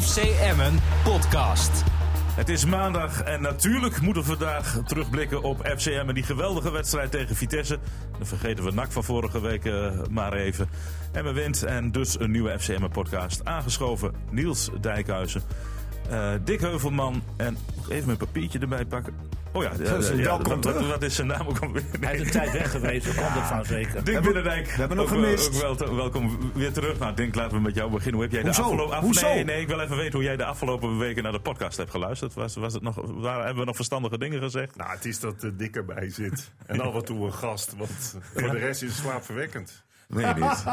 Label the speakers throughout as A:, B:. A: FC Emmen podcast.
B: Het is maandag en natuurlijk moeten we vandaag terugblikken op FCM en die geweldige wedstrijd tegen Vitesse. Dan vergeten we NAC van vorige week eh, maar even. Emmen wint en dus een nieuwe FCM podcast aangeschoven. Niels Dijkhuizen, eh, Dick Heuvelman en moet ik even mijn papiertje erbij pakken. Oh ja,
C: Zo,
B: eh,
C: zijn
B: ja,
C: welkom
B: dat, dat,
C: terug.
B: dat is zijn naam ook alweer.
D: Hij is een tijd weg geweest, dat komt ervan zeker.
B: Dink Binnendijk. We
C: hebben hem gemist.
B: Ook wel te- welkom weer terug. Nou, Dink, laten we met jou beginnen. Hoe heb jij de
C: Hoezo?
B: afgelopen... af-
C: Hoezo?
B: Nee, nee, ik wil even weten hoe jij de afgelopen weken naar de podcast hebt geluisterd. Was, was het nog, waar, hebben we nog verstandige dingen gezegd?
E: Nou, het is dat de dikker bij zit. En af en toe een gast, want voor de rest is het slaapverwekkend.
C: Nee, niet.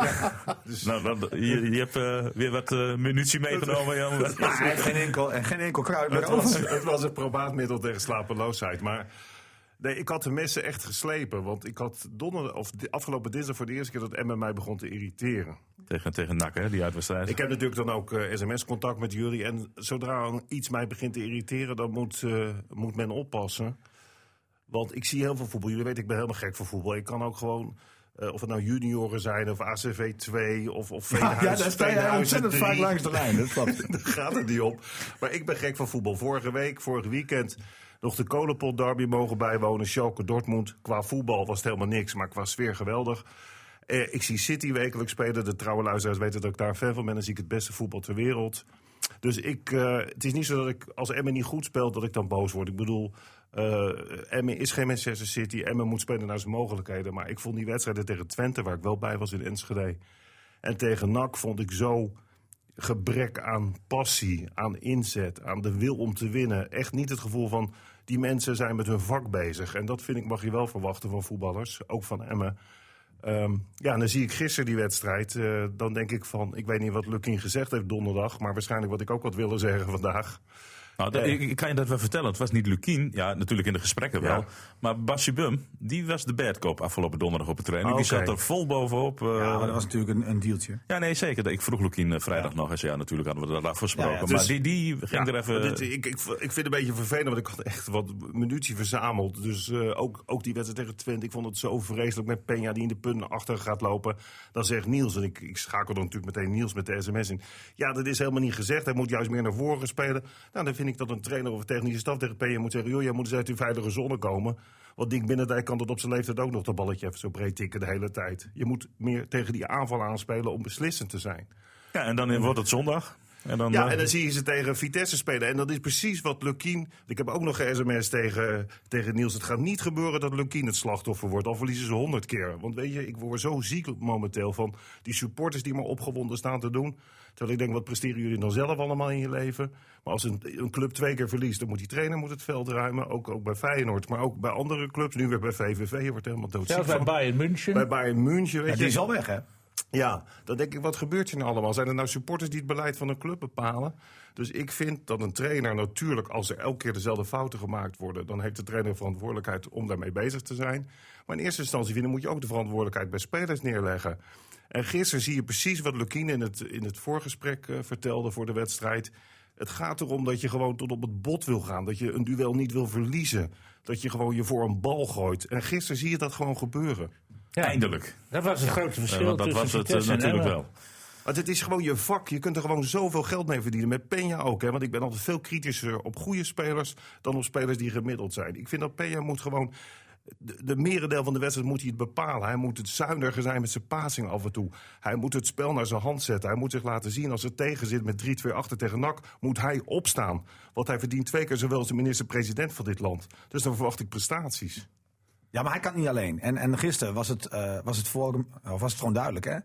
C: dus-
B: Nou, dat- je, je hebt eh, weer wat eh, munitie meegenomen, Jan.
C: Maar hij heeft geen enkel, en geen enkel kruid meer
E: Het was,
C: over.
E: het was een probaat middel tegen slapeloosheid. Maar nee, ik had de messen echt geslepen. Want ik had donder, of di- afgelopen dinsdag voor de eerste keer dat Emmen mij begon te irriteren.
B: tegen, tegen NAC, hè, die uitwedstrijd.
E: Ik heb natuurlijk dan ook eh, sms-contact met jullie. En zodra een- iets mij begint te irriteren, dan moet, eh, moet men oppassen. Want ik zie heel veel voetbal. Jullie weten, ik ben helemaal gek voor voetbal. Ik kan ook gewoon, eh, of het nou junioren zijn, of ACV 2, of, of
C: Ja,
E: Veenhuis,
C: ja, daar sta jij
E: Veenhuizen
C: ontzettend
E: 3.
C: vaak langs de lijn. Dat klopt.
E: Daar gaat het niet op. Maar ik ben gek van voetbal. Vorige week, vorig weekend, nog de kolenpot derby mogen bijwonen. Schalke Dortmund. Qua voetbal was het helemaal niks, maar qua sfeer geweldig. Eh, ik zie City wekelijks spelen. De trouwe luisteraars weten dat ik daar een fan van ben. Dan zie ik het beste voetbal ter wereld. Dus ik, eh, het is niet zo dat ik, als Emmen niet goed speelt, dat ik dan boos word. Ik bedoel, eh Emmen is geen Manchester City. Emmen moet spelen naar zijn mogelijkheden. Maar ik vond die wedstrijden tegen Twente, waar ik wel bij was in Enschede... en tegen NAC vond ik zo gebrek aan passie, aan inzet, aan de wil om te winnen. Echt niet het gevoel van die mensen zijn met hun vak bezig. En dat vind ik mag je wel verwachten van voetballers, ook van Emmen. Ehm, ja, en dan zie ik gisteren die wedstrijd. eh, dan denk ik van, ik weet niet wat Lukin gezegd heeft donderdag, maar waarschijnlijk wat ik ook had willen zeggen vandaag.
B: Nou, dat- ik, ik kan je dat wel vertellen. Het was niet Lukien, ja, natuurlijk in de gesprekken wel.
E: Ja.
B: Maar Basje Bum, die was de bad cop afgelopen donderdag op de training.
E: Ah,
B: Die
E: oké.
B: zat er vol bovenop. eh,
C: Ja, maar dat was natuurlijk een, een dealtje.
B: Ja, nee, zeker. Ik vroeg Lukien eh, vrijdag nog eens. Ja, natuurlijk hadden we dat afgesproken.
C: Nou Ja, ja,
B: maar die,
E: dus-
B: die ging er even...
E: Dit- ik, ik, ik vind het een beetje vervelend, want ik had echt wat munitie verzameld. Dus eh, ook, ook die wedstrijd tegen Twente, ik vond het zo vreselijk met Peña die in de punten achter gaat lopen. Dan zegt Niels, en ik, ik schakel dan natuurlijk meteen Niels met de sms in. Ja, dat is helemaal niet gezegd, hij moet juist meer naar voren spelen. Nou, dan vind ik dat een trainer of een technische staf tegen Peña moet zeggen... joh, jij moet eens uit die veilige zone komen. Want Dick Binnendijk kan dat op zijn leeftijd ook nog dat balletje even zo breed tikken de hele tijd. Je moet meer tegen die aanval aanspelen om beslissend te zijn.
B: Ja, en dan wordt het zondag. En dan,
E: Ja,
B: eh,
E: en dan zie je ze tegen Vitesse spelen. En dat is precies wat Lukien. Ik heb ook nog een sms tegen, tegen Niels. Het gaat niet gebeuren dat Lukien het slachtoffer wordt. Al verliezen ze honderd keer. Want weet je, ik word zo ziek momenteel van die supporters die maar opgewonden staan te doen. Terwijl ik denk, wat presteren jullie dan zelf allemaal in je leven? Maar als een, een club twee keer verliest, dan moet die trainer moet het veld ruimen. Ook, ook bij Feyenoord, maar ook bij andere clubs. Nu weer bij VVV, je wordt helemaal doodziek
D: Zelfs bij
E: van.
D: Bayern
E: Bij
D: München.
E: Bayern München, weet
C: Ja,
E: je.
C: die is al weg, hè?
E: Ja, dan denk ik, wat gebeurt hier nou allemaal? Zijn er nou supporters die het beleid van een club bepalen? Dus ik vind dat een trainer natuurlijk, als er elke keer dezelfde fouten gemaakt worden... dan heeft de trainer verantwoordelijkheid om daarmee bezig te zijn. Maar in eerste instantie vinden moet je ook de verantwoordelijkheid bij spelers neerleggen. En gisteren zie je precies wat Lukine in het, in het voorgesprek eh, vertelde voor de wedstrijd. Het gaat erom dat je gewoon tot op het bot wil gaan. Dat je een duel niet wil verliezen. Dat je gewoon je voor een bal gooit. En gisteren zie je dat gewoon gebeuren.
B: Eindelijk.
D: Dat was het grote
B: Eh,
D: verschil
B: want dat
D: tussen
B: was het eh,
D: Vitesse en
B: natuurlijk
D: Emmen.
B: wel.
E: Want het is gewoon je vak. Je kunt er gewoon zoveel geld mee verdienen. Met Peña ook. Hè? Want ik ben altijd veel kritischer op goede spelers dan op spelers die gemiddeld zijn. Ik vind dat Peña moet gewoon. De, de merendeel van de wedstrijd moet hij het bepalen. Hij moet het zuiniger zijn met zijn passing af en toe. Hij moet het spel naar zijn hand zetten. Hij moet zich laten zien als het tegen zit met 3-2 achter tegen NAC. Moet hij opstaan. Want hij verdient twee keer zowel als de minister-president van dit land. Dus dan verwacht ik prestaties.
C: Ja, maar hij kan niet alleen. En, en gisteren was het, eh, was, het voor, hem- of was het gewoon duidelijk, hè?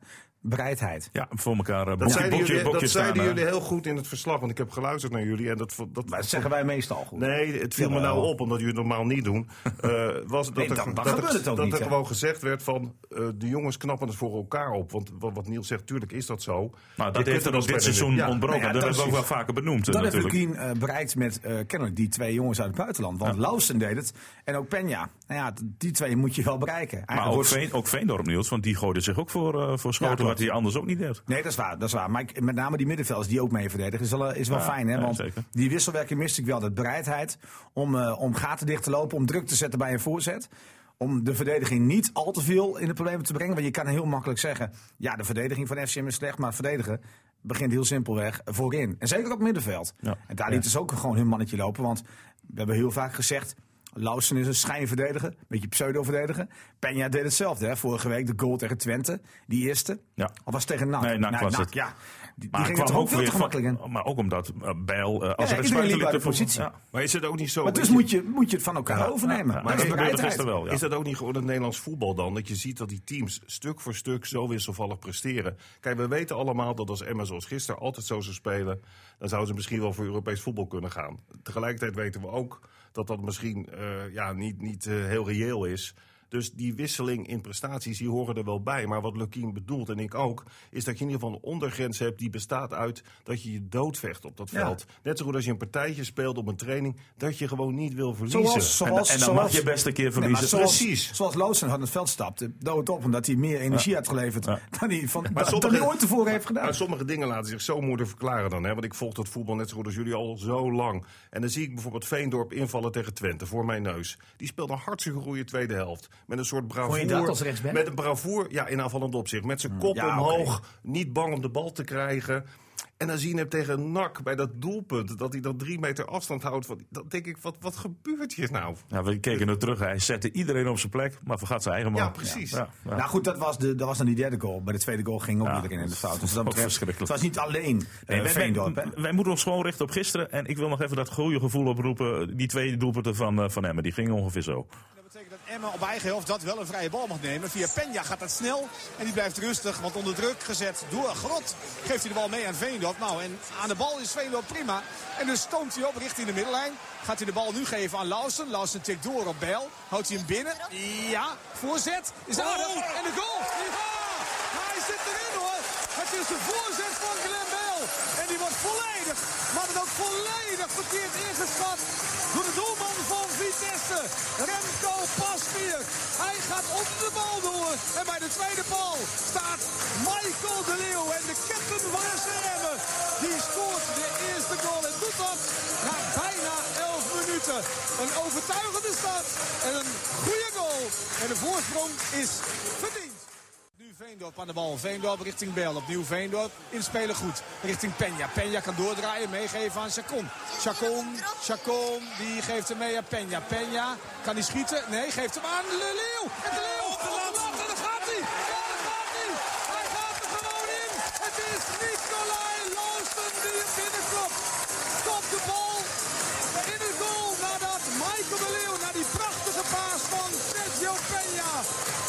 C: Bereidheid.
B: Ja, voor elkaar. eh,
E: Dat
B: bokje,
E: zeiden,
B: bokje,
E: jullie,
B: bokje
E: dat
B: staan,
E: zeiden
B: hè.
E: jullie heel goed in het verslag. Want ik heb geluisterd naar jullie. En dat, vo- dat,
C: Maar dat zeggen wij meestal goed.
E: Nee, het viel me
C: Jawel.
E: nou op, omdat jullie het normaal niet doen. Eh, was dat
C: Nee,
E: er,
C: dan- dan
E: dat
C: gebeurt
E: er-
C: het ook
E: dat
C: niet,
E: er
C: hè?
E: gewoon gezegd werd van eh, de jongens knappen het voor elkaar op. Want wat, wat Niels zegt, tuurlijk is dat zo.
B: Maar Nou,
E: Je
B: dat
E: kunt
B: heeft er
E: wel
B: ook dit
E: spelen
B: seizoen
E: nu. Ja,
B: ontbroken.
C: nou ja,
B: dat hebben we ook wel
C: precies.
B: vaker benoemd. eh,
C: Dat heeft
B: natuurlijk.
C: Lukien eh, bereikt met eh, kennelijk die twee jongens uit het buitenland. Want Lausen deed het en ook Peña. Nou ja, d- die twee moet je wel bereiken.
B: Maar
C: Eigenlijk
B: ook,
C: wordt-
B: Veen, ook Veendorp Niels, want die gooide zich ook voor, eh, voor
C: Ja,
B: schoten
C: klopt.
B: wat hij anders ook niet deed.
C: Nee, dat is waar. Dat is waar. Maar ik- met name die middenvelders die ook mee verdedigen is wel, eh, is wel
B: Ja,
C: fijn. Hè?
B: ja,
C: Want
B: zeker.
C: die wisselwerking miste ik wel. Dat bereidheid om, eh, om gaten dicht te lopen, om druk te zetten bij een voorzet. om de verdediging niet al te veel in de problemen te brengen. Want je kan heel makkelijk zeggen, ja, de verdediging van FCM is slecht, maar verdedigen begint heel simpelweg voorin. En zeker op het middenveld.
B: Ja.
C: En daar liet ze ook gewoon hun mannetje lopen, want we hebben heel vaak gezegd, Lausen is een schijnverdediger, een beetje pseudo-verdediger. Peña deed hetzelfde, hè? vorige week de goal tegen Twente, die eerste.
B: Ja.
C: Of was het tegen NAC?
B: Nee, NAC was het.
C: Ja. Die,
B: Maar
C: die
B: het
C: ging er
B: kwam
C: ook
B: ook
C: veel
B: weer
C: te gemakkelijk in.
B: van- Maar ook omdat eh, Bijl, eh, als
C: Ja,
B: er een
C: iedereen liep
B: spuiter
C: uit de
B: liep,
C: positie.
B: Ja.
E: Maar is het ook niet zo...
C: Maar
E: dat
C: dus
E: je-
C: moet je, moet je het van elkaar overnemen.
B: ja,
C: dat
B: maar
C: is
B: ik
E: gebeurde
C: bereidheid.
B: gisteren wel, ja.
E: Is dat ook niet gewoon het Nederlands voetbal dan? Dat je ziet dat die teams stuk voor stuk zo wisselvallig presteren. Kijk, we weten allemaal dat als Emma zoals gisteren altijd zo zou spelen... dan zouden ze misschien wel voor Europees voetbal kunnen gaan. Tegelijkertijd weten we ook dat dat misschien eh, ja, niet, niet eh, heel reëel is... Dus die wisseling in prestaties, die horen er wel bij. Maar wat Lukien bedoelt, en ik ook, is dat je in ieder geval een ondergrens hebt die bestaat uit dat je je doodvecht op dat
C: Ja.
E: veld. Net zo goed als je een partijtje speelt op een training, dat je gewoon niet wil verliezen.
C: Zoals,
B: En,
C: zoals,
B: en dan
C: zoals,
B: mag je best een keer verliezen.
C: maar zoals,
E: Precies.
C: Zoals Loosen van het veld stapte, dood op omdat hij meer energie had geleverd dan hij, van, dan,
E: sommige-
C: hij ooit tevoren heeft gedaan.
E: Maar sommige dingen laten zich zo moeilijk verklaren dan. Hè? Want ik volg dat voetbal net zo goed als jullie al zo lang. En dan zie ik bijvoorbeeld Veendorp invallen tegen Twente voor mijn neus. Die speelt een hartstikke goede tweede helft. Met een soort bravoer.
F: je dat als rechtsback?
E: Met een bravoer, ja, in aanvallend opzicht. Met zijn kop
C: Hmm. Ja,
E: omhoog, niet bang om de bal te krijgen. En dan zie je hem tegen NAC bij dat doelpunt, dat hij dan drie meter afstand houdt. Van, dan denk ik, wat, wat gebeurt hier nou?
B: Ja, we keken er terug. Hij zette iedereen op zijn plek, maar vergat zijn eigen man.
E: Ja, precies.
B: ja.
C: Nou goed, dat was, de, dat was dan die derde goal. Bij de tweede goal ging ook
B: Ja.
C: iedereen in de fout. Dus dat
B: Ook
C: betreft,
B: verschrikkelijk.
C: het was niet alleen
B: Nee,
C: eh,
B: wij,
C: Veendorp. hè.
B: wij- wij moeten ons gewoon richten op gisteren. En ik wil nog even dat goede gevoel oproepen. Die twee doelpunten van, eh, van Emmen, die gingen ongeveer zo.
G: Dat betekent dat Emma op eigen helft dat wel een vrije bal mag nemen. Via Penja gaat dat snel en die blijft rustig. Want onder druk gezet door Grot geeft hij de bal mee aan Veendorp. Nou, en aan de bal is Veendorp prima. En dus stoomt hij op richting de middenlijn. Gaat hij de bal nu geven aan Lausen. Lausen tikt door op Bijl. Houdt hij hem binnen. Ja, voorzet. Is aardig. En de goal. Ja! Hij zit erin hoor. Het is de voorzet van Glenn Bell. En die wordt volledig, maar dan ook volledig verkeerd ingeschat door de doelman van Vitesse. Remco Pasveer. Hij gaat op de bal door. En bij de tweede bal staat Michael de Leeuw. En de captain van SCM. Die scoort de eerste goal. En doet dat na bijna 11 minuten. Een overtuigende start en een goede goal. En de voorsprong is verdiend. Nu Veendorp aan de bal. Veendorp richting Bel. Opnieuw Veendorp. Inspelen goed. Richting Peña. Peña kan doordraaien. Meegeven aan Chacon. Chacon. Chacon. Die geeft hem mee aan Peña. Peña. Kan hij schieten? Nee. Geeft hem aan De Leeuw. En De Leeuw. op de lat. En daar gaat hij. Ja, daar gaat hij. Hij gaat er gewoon in. Het is Nicolai Loosten die hem binnenkomt. Kopt de bal. In de goal nadat Michael de Leeuw naar die prachtige paas van Sergio Peña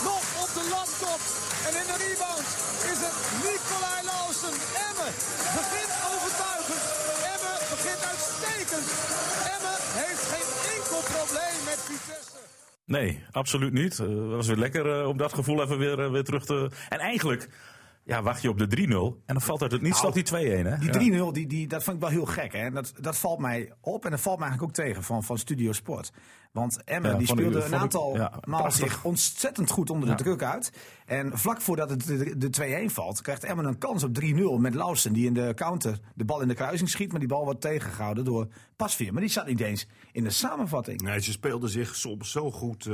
G: nog op de landtop. En in de rebound is het Nicolai Lausen. Emme begint overtuigend. Emme begint uitstekend. Emme heeft geen enkel probleem met Vitesse.
B: Nee, absoluut niet. Het was weer lekker eh, om dat gevoel even weer, eh, weer terug te... En eigenlijk ja, wacht je op de 3-0. En dan valt uit het niet stap die 2-1. Hè? Ja.
C: Die 3-0, die, die, dat vond ik wel heel gek. Hè? En dat, dat valt mij op en dat valt mij eigenlijk ook tegen van, van Studio Sport. Want Emmen
B: Ja,
C: die
B: vond ik-
C: speelde een
B: vond ik-
C: aantal
B: ja,
C: maal
B: prachtig.
C: zich ontzettend goed onder de druk uit. En vlak voordat het de, de 2-1 valt, krijgt Emmen een kans op 3-0 met Lausen. Die in de counter de bal in de kruising schiet, maar die bal wordt tegengehouden door Pasveer. Maar die zat niet eens in de samenvatting.
E: Nee, ze speelden zich soms zo goed. eh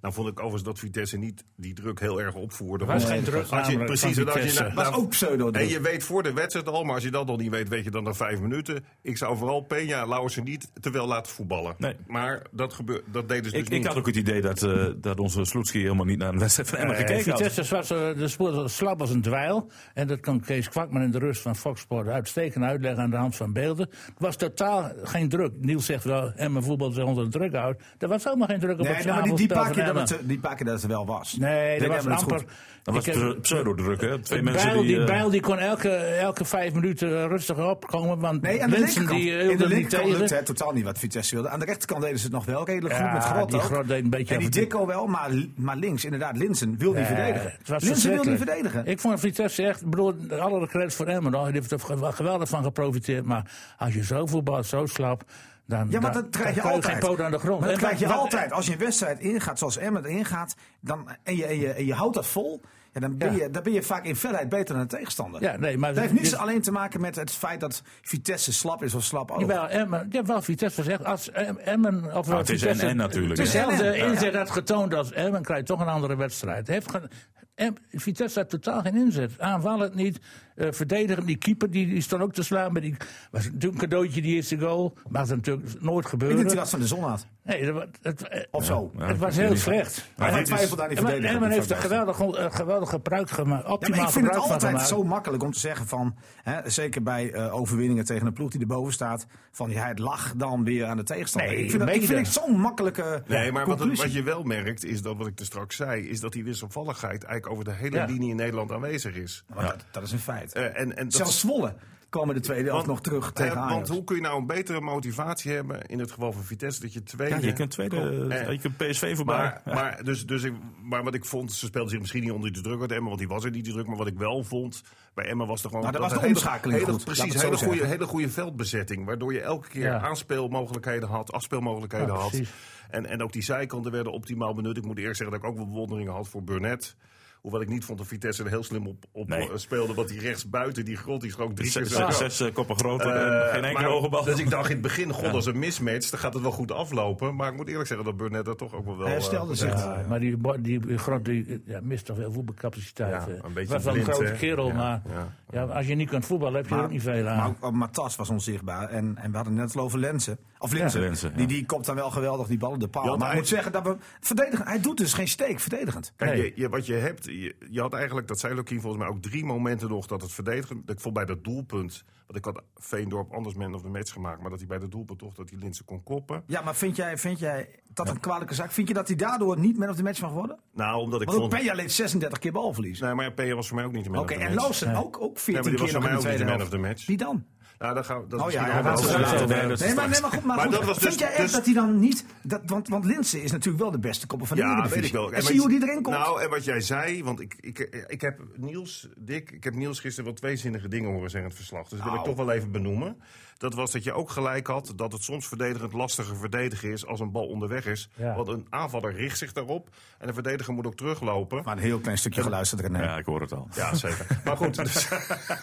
E: nou vond ik overigens dat Vitesse niet die druk heel erg opvoerde.
D: was
E: Want
D: geen druk
E: als je,
D: namelijk
E: precies,
D: van
E: en als je,
D: Vitesse.
E: na-
C: Was
E: na-
C: ook pseudo
E: Nou, En je weet voor de wedstrijd al, maar als je dat nog niet weet, weet je dan na vijf minuten. Ik zou vooral Peña en Lauwersen niet te wel laten voetballen.
B: Nee.
E: Maar dat, gebeur, dat deden ze dus
B: Ik,
E: niet.
B: ik had ook het idee dat, eh, dat onze Sloetski helemaal niet naar een wedstrijd van Emmen
D: Eh,
B: gekeken had.
D: Vitesse was, eh, de spoor slap als een dweil. En dat kan Kees Kwakman in de rust van Fox Sport uitstekend uitleggen aan de hand van beelden. Het was totaal geen druk. Niels zegt wel, Emmen voetbal is onder druk uit. Er was helemaal geen druk op
C: Nee,
D: het
C: nee, maar die, die,
D: avondspel
C: paar keer
D: van
C: dat
D: Emmen.
C: het, die paar keer dat het er wel was.
D: Nee,
C: Deed
D: dat was
C: Emmen het
D: amper.
C: goed.
B: Dat was
D: Ik heb-
B: pse- pseudo-druk, hè? Twee
D: Bijl,
B: mensen die...
D: die,
B: eh,
D: Bijl die kon elke, elke vijf minuten rustig opkomen. Want
C: Nee, aan de
D: mensen
C: linkerkant.
D: die eh,
C: in de
D: hielden niet
C: linkerkant lukte
D: tegen.
C: het totaal niet wat Vitesse wilde. Aan de rechterkant deden ze het nog wel redelijk
D: Ja,
C: goed met Grot
D: die
C: ook.
D: Grot deed een beetje
C: en die
D: over-
C: Dikko wel, maar, maar links, inderdaad, Linsen wil niet
D: Eh,
C: verdedigen.
D: het was
C: Linsen wil niet
D: verschrikkelijk.
C: verdedigen.
D: Ik vond Vitesse echt, ik bedoel, alle credits voor Emmen. hoor. Die heeft er ge- geweldig van geprofiteerd. Maar als je zo voetbalt, zo slap, dan,
C: ja, maar
D: dan-
C: dat krijg je
D: dan kun
C: altijd.
D: Nou, geen poot aan de grond.
C: Maar dat
D: En
C: krijg je
D: wat-
C: altijd. Als je een wedstrijd ingaat zoals Emmet ingaat dan, en, je, en, je, en je houdt dat vol, ja, En dan ben,
D: Ja.
C: je, dan ben je vaak in felheid beter dan de tegenstander.
D: Ja, nee, maar
C: dat heeft niets
D: dit-
C: alleen te maken met het feit dat Vitesse slap is of slap ook.
D: Jawel, Emmen. Ja, wel Vitesse zegt. Als Em- Emmen. Of
B: Nou, het is
D: Vitesse-
B: en-en natuurlijk,
C: hè?
D: Dezelfde
C: Ja.
D: inzet had getoond als Emmen, krijgt toch een andere wedstrijd. Heeft ge- Em- Vitesse had totaal geen inzet. Aanvallend niet, eh verdedigend. Die keeper die, die stond ook te slaan. Maar die was natuurlijk een cadeautje, die eerste goal. Maar dat is natuurlijk nooit
C: Ik denk dat hij
D: gebeuren.
C: last van de zon had.
D: Nee, dat, wa- het, eh,
C: Of zo.
B: Ja,
D: het
B: dat
D: was
B: weet ik
D: heel
B: niet.
D: slecht.
B: Maar
C: Hij
B: dit is-
C: twijfelt aan die
D: Emmen
C: verdediging.
D: Emmen heeft er
C: van Vitesse.
D: geweldig, eh, geweldig gebruik gemaakt.
C: Ja, maar
D: Optimaal
C: ik vind het
D: gebruik van
C: altijd
D: gemaakt.
C: zo makkelijk om te zeggen van, hè, zeker bij eh, overwinningen tegen een ploeg die erboven staat, van ja, het lag dan weer aan de tegenstander.
D: Nee,
C: ik vind dat- ik
D: mede.
C: vind het zo'n makkelijke
E: Nee, maar wat, het-
C: conclusie.
E: wat je wel merkt, is dat wat ik er straks zei, is dat die wisselvalligheid eigenlijk over de hele
D: Ja.
E: linie in Nederland aanwezig is.
C: Maar dat, dat is een feit.
E: Eh, en, en dat
C: Zelfs Zwolle kwam in de tweede helft
E: want-
C: nog terug
E: eh,
C: tegen Ajax.
E: Want hoe kun je nou een betere motivatie hebben in het geval van Vitesse dat je twee.
B: Ja, je kunt tweede,
E: Kom, eh,
B: je kunt PSV voorbij.
E: Maar, maar, dus, dus ik, maar wat ik vond, ze speelden zich misschien niet onder de druk uit Emma, want die was er niet de druk. Maar wat ik wel vond bij Emma was er gewoon.
C: Nou, daar
E: dat
C: was de
E: hele-
C: omschakeling
E: hele-
C: goed, laat ik
E: Precies,
C: het zo
E: hele goede,
C: zeggen.
E: hele goede veldbezetting. Waardoor je elke keer
D: Ja.
E: aanspeelmogelijkheden had, afspeelmogelijkheden
D: Ja,
E: had.
D: precies.
E: En, en ook die zijkanten werden optimaal benut. Ik moet eerlijk zeggen dat ik ook wel bewonderingen had voor Burnett. Hoewel ik niet vond dat Vitesse er heel slim op, op eh,
B: Nee.
E: speelde. Want die rechts buiten, die grot, die schoot drie keer
B: zes,
E: zo
B: zes,
E: groot.
B: zes, eh, koppen groter,
E: Eh,
B: en geen enkele
E: maar-
B: hoge bal.
E: Dus ik dacht in het begin, god, als een mismatch, dan gaat het wel goed aflopen. Maar ik moet eerlijk zeggen dat Burnett daar toch ook wel wel...
C: Hij
E: eh,
C: herstelde zich.
D: Ja, maar die, bo- die, die grot die, eh, ja, mist toch veel voetbalcapaciteit.
E: Ja,
D: hè.
E: een beetje
D: was wel een
E: blind,
D: grote
E: hè?
D: kerel,
E: Ja,
D: maar
E: ja.
D: ja. als je niet kunt voetballen heb je er ook niet veel
C: maar
D: aan.
C: ook- ook Matas was onzichtbaar. En, en we hadden net al over Lensen. Of Linsen.
B: Linsen, ja.
C: Die, die komt dan wel geweldig die ballen de paal.
E: Ja,
C: maar
E: maar
C: ik moet
E: hij-
C: zeggen dat we verdedigen. Hij doet dus geen steek verdedigend.
E: Kijk,
D: Nee.
E: je, je- wat je hebt, je, je had eigenlijk, dat zei Lukien volgens mij ook drie momenten nog dat het verdedigen. Ik vond bij dat doelpunt, want ik had Veendorp anders man of the match gemaakt, maar dat hij bij dat doelpunt toch dat hij Linsen kon koppen.
C: Ja, maar vind jij, vind jij dat een kwalijke zaak? Vind je dat hij daardoor niet man of the match mag worden?
E: Nou, omdat ik
C: Want ook
E: vond...
C: Peña leed 36 keer balverlies.
E: Nee, maar Peja was voor mij ook niet de man
C: Oké,
E: of the
C: en
E: match.
C: Loosen ook, ook
E: Nee,
C: 14
E: maar die was
C: keer nog
E: voor mij
C: in de
E: ook niet
C: tweede
E: de man of
C: helft.
E: the match.
C: Wie dan?
E: Nou, dan gaan we... Dat
C: Oh
E: is
C: ja,
E: misschien
C: ja,
E: nog
C: dat
E: wel
C: is
E: een
B: later.
E: andere-
B: Nee, dat is
C: Nee, maar, nee, maar goed, maar
E: Maar
C: goed,
E: dat was
C: vind
E: dus-
C: jij echt
E: dus-
C: dat hij dan niet... Dat, want, want Linsen is natuurlijk wel de beste kopper van de
E: Ja,
C: Eredivisie.
E: weet ik wel.
C: En
E: maar
C: zie je hoe die
E: iets-
C: erin komt?
E: Nou, en wat jij zei, want ik, ik, ik heb Niels, Dick, ik heb Niels gisteren wel twee zinnige dingen horen zeggen in het verslag. Dus dat wil ik
C: Nou.
E: toch wel even benoemen. Dat was dat je ook gelijk had dat het soms verdedigend lastiger verdedigen is als een bal onderweg is.
D: Ja.
E: Want een aanvaller richt zich daarop en een verdediger moet ook teruglopen.
C: maar een heel klein stukje geluisterd erin.
B: ja, ik hoor het al.
E: Ja, zeker. Maar goed, dus-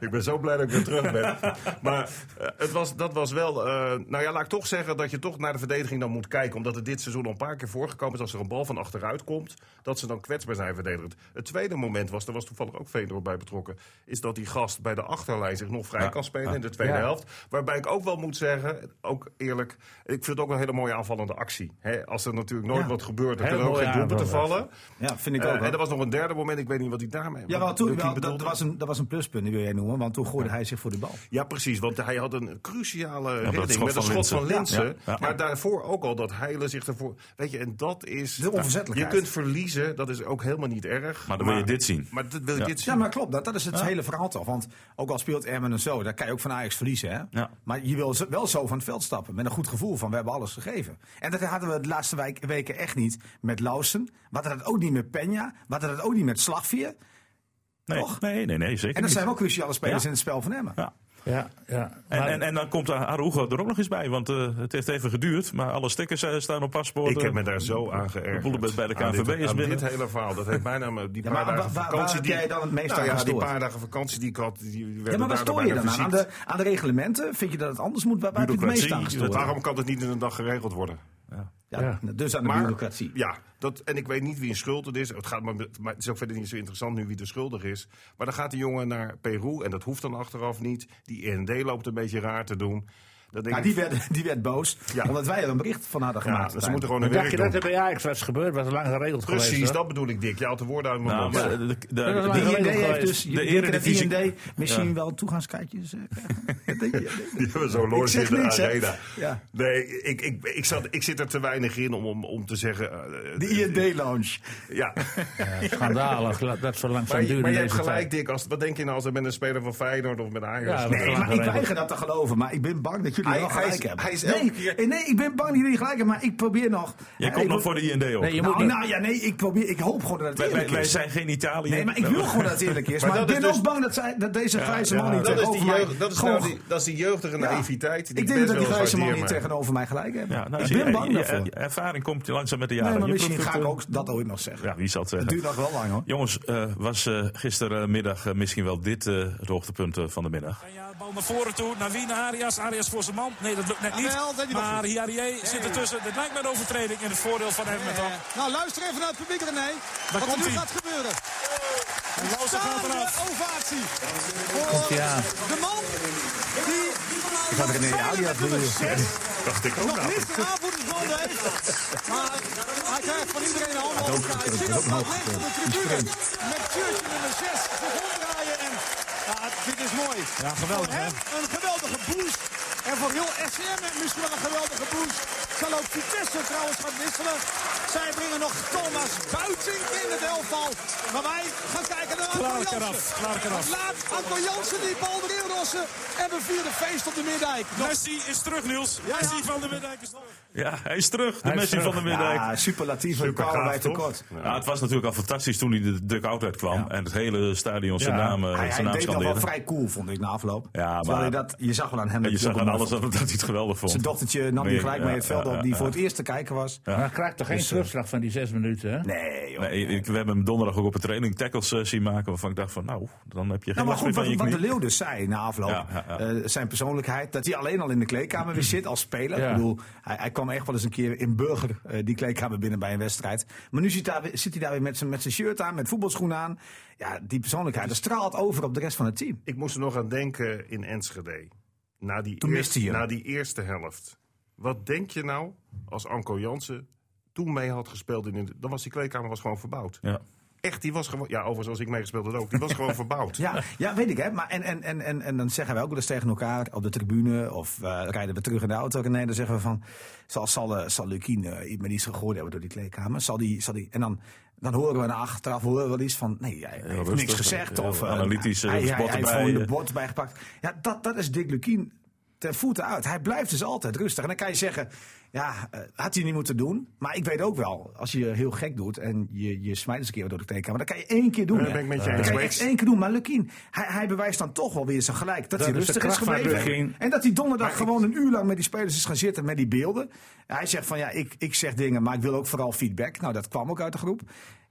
E: ik ben zo blij dat ik weer terug ben. Maar eh, het was, dat was wel. eh, nou ja, laat ik toch zeggen dat je toch naar de verdediging dan moet kijken. Omdat het dit seizoen al een paar keer voorgekomen is. Als er een bal van achteruit komt, dat ze dan kwetsbaar zijn verdedigend. Het tweede moment was, daar was toevallig ook Veendorp bij betrokken. Is dat die gast bij de achterlijn zich nog vrij
B: Ja,
E: kan spelen
B: ja.
E: in de tweede
D: Ja.
E: helft. Waarbij ik ook wel moet zeggen, ook eerlijk. Ik vind het ook wel een hele mooie aanvallende actie. Hè, als er natuurlijk nooit
C: Ja.
E: wat gebeurt, dan
D: Heel
E: kunnen er ook
D: mooie
E: geen doelpunten
D: aanval,
E: vallen.
C: Ja, vind ik
E: Eh,
C: ook. hoor.
E: en er was nog een derde moment, ik weet niet wat die daarmee.
C: ja, wel,
E: wat
C: toen,
E: Lucky
C: wel, dat,
E: bedoelde.
C: dat was een, dat was een pluspunt, die wil jij noemen. Want toen gooide hij zich voor de bal.
E: Ja, precies, want hij had een
B: dat
E: cruciale redding
B: schot
E: met een
B: van
E: schot van
B: Linssen.
E: Linsen.
B: Ja, ja.
E: Maar daarvoor ook al dat Heilen zich ervoor. Weet je, en dat is.
C: De onverzettelijkheid.
E: Je kunt verliezen, dat is ook helemaal niet erg.
B: Maar dan wil je dit zien.
E: Maar dat wil je
B: Ja.
E: dit zien.
C: Ja, maar klopt. Dat, dat is het hele verhaal toch. Want ook al speelt Emmen en zo, daar kan je ook van Ajax verliezen. Hè?
B: Ja.
C: Maar je wil zo- wel zo van het veld stappen. Met een goed gevoel van we hebben alles gegeven. En dat hadden we de laatste wijk- weken echt niet met Lausen. We hadden dat ook niet met Peña. We hadden dat ook niet met Slagvier.
B: Nee,
C: Toch?
B: nee, nee, nee, zeker
C: En dat
B: niet.
C: zijn ook cruciale spelers
B: Ja.
C: in het spel van Emmen.
B: Ja.
D: Ja, ja.
B: En,
D: Maar-
B: en, en dan komt Arugo er ook nog eens bij, want eh, het heeft even geduurd. Maar alle stickers eh, staan op paspoort.
E: Ik heb me daar zo aan geërgerd.
B: boelenbed bij de
E: Aan dit-
B: KNVB is
E: aan
B: binnen.
E: Dit hele verhaal, dat heeft bijna me- die
C: Ja,
E: paar
C: maar waar-
E: dagen
C: waar-
E: vakantie.
C: waar
E: die,
C: heb jij dan het meest
E: nou,
C: aan
E: ja, die
C: gestoord?
E: paar dagen vakantie die ik had, die- die werden
C: Ja, maar waar
E: daardoor
C: stoor je
E: bijna
C: dan aan? Aan
E: verziekt.
C: de, aan de reglementen? Vind je dat het anders moet? Waar, waar heb je het meest aan
B: Bureaucratie,
C: gestoord?
E: Waarom kan het niet in een dag geregeld worden?
C: Ja, dus aan de
E: Maar-
C: bureaucratie.
E: Ja, dat, en ik weet niet wie een schuld het is. Het, gaat maar, met- maar het is ook verder niet zo interessant nu wie de schuldig is. Maar dan gaat die jongen naar Peru en dat hoeft dan achteraf niet. Die IND loopt een beetje raar te doen. Dan denk
C: Ja,
E: ik,
C: die werd, die werd boos,
E: Ja.
C: omdat wij er een bericht van hadden
E: ja,
C: gemaakt.
E: ze moeten gewoon hun
D: maar dacht
E: werk
D: je
E: doen.
D: dat er bij Ajax was gebeurd? Was lang geregeld geweest.
E: Precies,
D: hoor.
E: dat bedoel ik, Dick. Je haalt de woorden uit mijn
B: Nou,
E: mond.
B: maar de, de,
D: is
B: de-
D: waar.
C: De IND
D: geweest.
C: heeft dus, je
B: De
C: denkt dat de
B: Eredivisie-
C: IND misschien wel toegangskaartjes eh, krijgt.
E: Die hebben zo'n
C: Ik
E: loge
C: zeg
E: in de
C: niks, hè.
E: arena.
C: Ja.
E: Nee, ik, ik, ik, zat, ik zit er te weinig in om, om, om te zeggen... eh,
C: De IND-lounge.
E: Ja.
D: Ja, schandalig, la- dat zo lang
E: Maar,
D: zou duren.
E: maar je hebt
D: deze
E: gelijk,
D: tijd.
E: Dick. Als, wat denk je nou als er met een speler van Feyenoord of met Ajax... Nee,
D: Ja, we
C: Nee,
D: gaan
C: maar ik
D: erin.
C: weiger dat te geloven. Maar ik ben bang dat jullie
F: Hij-
C: wel
F: hij
C: gelijk
F: is-
C: hebben.
F: hij is elke
C: nee, eh,
F: keer-
C: nee, ik ben bang dat jullie gelijk hebben, maar ik probeer nog.
B: Jij
C: Eh,
B: komt
C: ik
B: nog
C: wil-
B: voor de IND op.
D: Nee, je moet
C: Nou,
D: niet-
C: nou ja, nee, ik probeer, ik hoop gewoon dat het
B: wij, wij-
C: eerlijk
B: wij
C: is.
B: zijn geen Italië. Nou.
C: Nee, maar ik wil gewoon dat het eerlijk is.
F: Maar
C: Maar ik
F: dat
C: ben
F: is
C: ook
F: dus-
C: bang dat, zij, dat deze grijze man hier
F: Dat is, die
C: tegenover mij...
F: jeugd, dat, is
C: gewoon-
F: nou die, dat is die jeugdige
C: Ja.
F: naïviteit. Die
C: Ik denk dat die
F: best wel eens
C: grijze man hier
F: waardeer, maar-
C: tegenover mij gelijk hebben.
B: Ja, nou,
C: ik
B: zie je,
C: ben bang
B: je-
C: daarvoor.
B: je- Ervaring komt langzaam met de jaren.
C: nee, maar
B: Je
C: misschien
B: proeft
C: ga
B: het,
C: ik
B: eh,
C: ook dat ooit nog zeggen.
B: Ja, wie eh, zal het
C: Het
B: zeggen?
C: duurt nog wel lang hoor.
B: Jongens, eh, was eh, gistermiddag eh, misschien wel dit eh, het hoogtepunt eh, van de middag?
H: Ja, bal naar voren toe. Naar wie? Naar Arias. Arias voor zijn man. Nee, dat lukt net niet.
G: Jawel, dat hij nog
H: Maar
G: goed.
H: Hiarie zit ertussen. Dit lijkt me een overtreding in het voordeel van Edmonton.
G: Eh, nou, luister even naar het publiek, René. Wat er
H: komt
G: nu
H: ie.
G: gaat gebeuren.
H: En Lauwersen gaat
G: Staande
H: eraf.
G: ovatie. Voor
D: ja.
G: de man die...
C: gaat René Arias
G: met nummer
C: doen.
G: zes
E: Dacht ik ook
G: nog
E: nou.
G: niet de aanvoerdersbal heeft. Maar hij krijgt van iedereen een handbal. Ik zie dat gaat leeg op de tribune. Met shirtje nummer 6 zich omdraaien. En ja, dit is mooi.
H: Ja, geweldig,
G: Voor hem een geweldige boost. En voor heel SCM misschien wel een geweldige boost. Zal ook Vitesse trouwens gaan wisselen. Zij brengen nog Thomas Buiting in het elftal. Maar wij gaan kijken naar Anton
H: Klaar, eraf.
G: Jansen.
H: Klaar, eraf.
G: Laat Anton Jansen die bal erin rossen. En we vieren feest op de Meerdijk.
H: Messi is terug, Niels.
G: ja.
H: Messi van de Middijk is terug.
B: Ja, hij is terug. De
D: Hij is
B: Messi
D: terug.
B: van de Middijk.
C: Ja, superlatief en
E: Supergaaf,
C: kwamen wij
E: toch?
C: tekort.
B: Nou, het was natuurlijk al fantastisch toen hij de duck-out uitkwam. En het hele stadion zijn
D: Ja.
B: naam, eh,
C: Hij, hij
B: zijn naam
C: deed dat wel
B: scandeerde.
C: vrij cool, vond ik, na afloop.
B: Ja,
C: Terwijl
B: maar-
C: hij dat, je zag wel aan hem
B: En je
C: dat
B: zag
C: hij het
B: aan
C: ook
B: alles
C: wel
B: dat dat hij het geweldig vond.
C: Zijn dochtertje nam
B: Nee,
C: hij gelijk
B: ja,
C: mee het veld
B: ja,
C: op, die
B: ja,
C: voor
B: ja.
C: het eerst te kijken was.
D: Maar hij krijgt toch geen terugslag van die zes minuten, hè?
C: Nee, joh. Nou,
B: Nee, ik, we hebben hem donderdag ook op een training tackles eh, zien maken. Waarvan ik dacht van, nou, dan heb je geen last meer
C: Nou, maar
B: van
C: goed, wat,
B: je
C: wat
B: knie.
C: de Leeuw dus zei na afloop,
B: Ja, ja, ja.
C: eh, zijn persoonlijkheid, dat hij alleen al in de kleedkamer weer zit als speler.
D: Ja.
C: Ik bedoel, hij, hij kwam echt wel eens een keer in Burger eh, die kleedkamer binnen bij een wedstrijd. Maar nu zit, daar, weer- zit hij daar weer met zijn, met zijn shirt aan, met voetbalschoenen aan. Ja, die persoonlijkheid, dat straalt over op de rest van het team.
E: Ik moest er nog aan denken in Enschede. Na die,
C: Toen miste
E: eerste,
C: hij hem.
E: na die eerste helft. Wat denk je nou als Anko Jansen toen mee had gespeeld? In de, dan was die kleedkamer was gewoon verbouwd.
B: Ja.
E: Echt, die was gewoon... Ja, overigens als ik meegespeeld had ook. Die was gewoon verbouwd.
C: Ja, ja, weet ik hè. Maar en, en, en, en, en dan zeggen wij ook wel eens tegen elkaar op de tribune of eh, rijden we terug in de auto. Nee, dan zeggen we van, zal, zal, eh, zal Lukien eh, maar iets gegooid hebben door die kleedkamer? Zal die, zal die, en dan, dan horen we na achteraf horen we wel iets van, nee, hij heeft
B: rustig,
C: niks gezegd.
B: heel
C: Of, eh,
B: analytisch, eh,
C: hij, hij,
B: spot
C: hij heeft
B: erbij,
C: gewoon de
B: eh.
C: bord bijgepakt. Ja, dat, dat is Dick Lukien ten voeten uit. Hij blijft dus altijd rustig. En dan kan je zeggen, ja, eh, had hij niet moeten doen. Maar ik weet ook wel, als je heel gek doet en je, je smijt eens een keer door de kleedkamer, dan kan je één keer doen.
E: Ja, dat
C: hè.
E: ben ik met je
C: Dan
E: eens.
C: kan
E: Maar ik-
C: echt één keer doen. Maar Lukien, hij, hij bewijst dan toch wel weer zijn gelijk. Dat, hij
D: is de
C: rustig is
D: kracht van
C: gebleven.
D: Lukien.
C: En dat hij donderdag gewoon een uur lang met die spelers is gaan zitten met die beelden. Hij zegt van ja, ik, ik zeg dingen, maar ik wil ook vooral feedback. Nou, dat kwam ook uit de groep.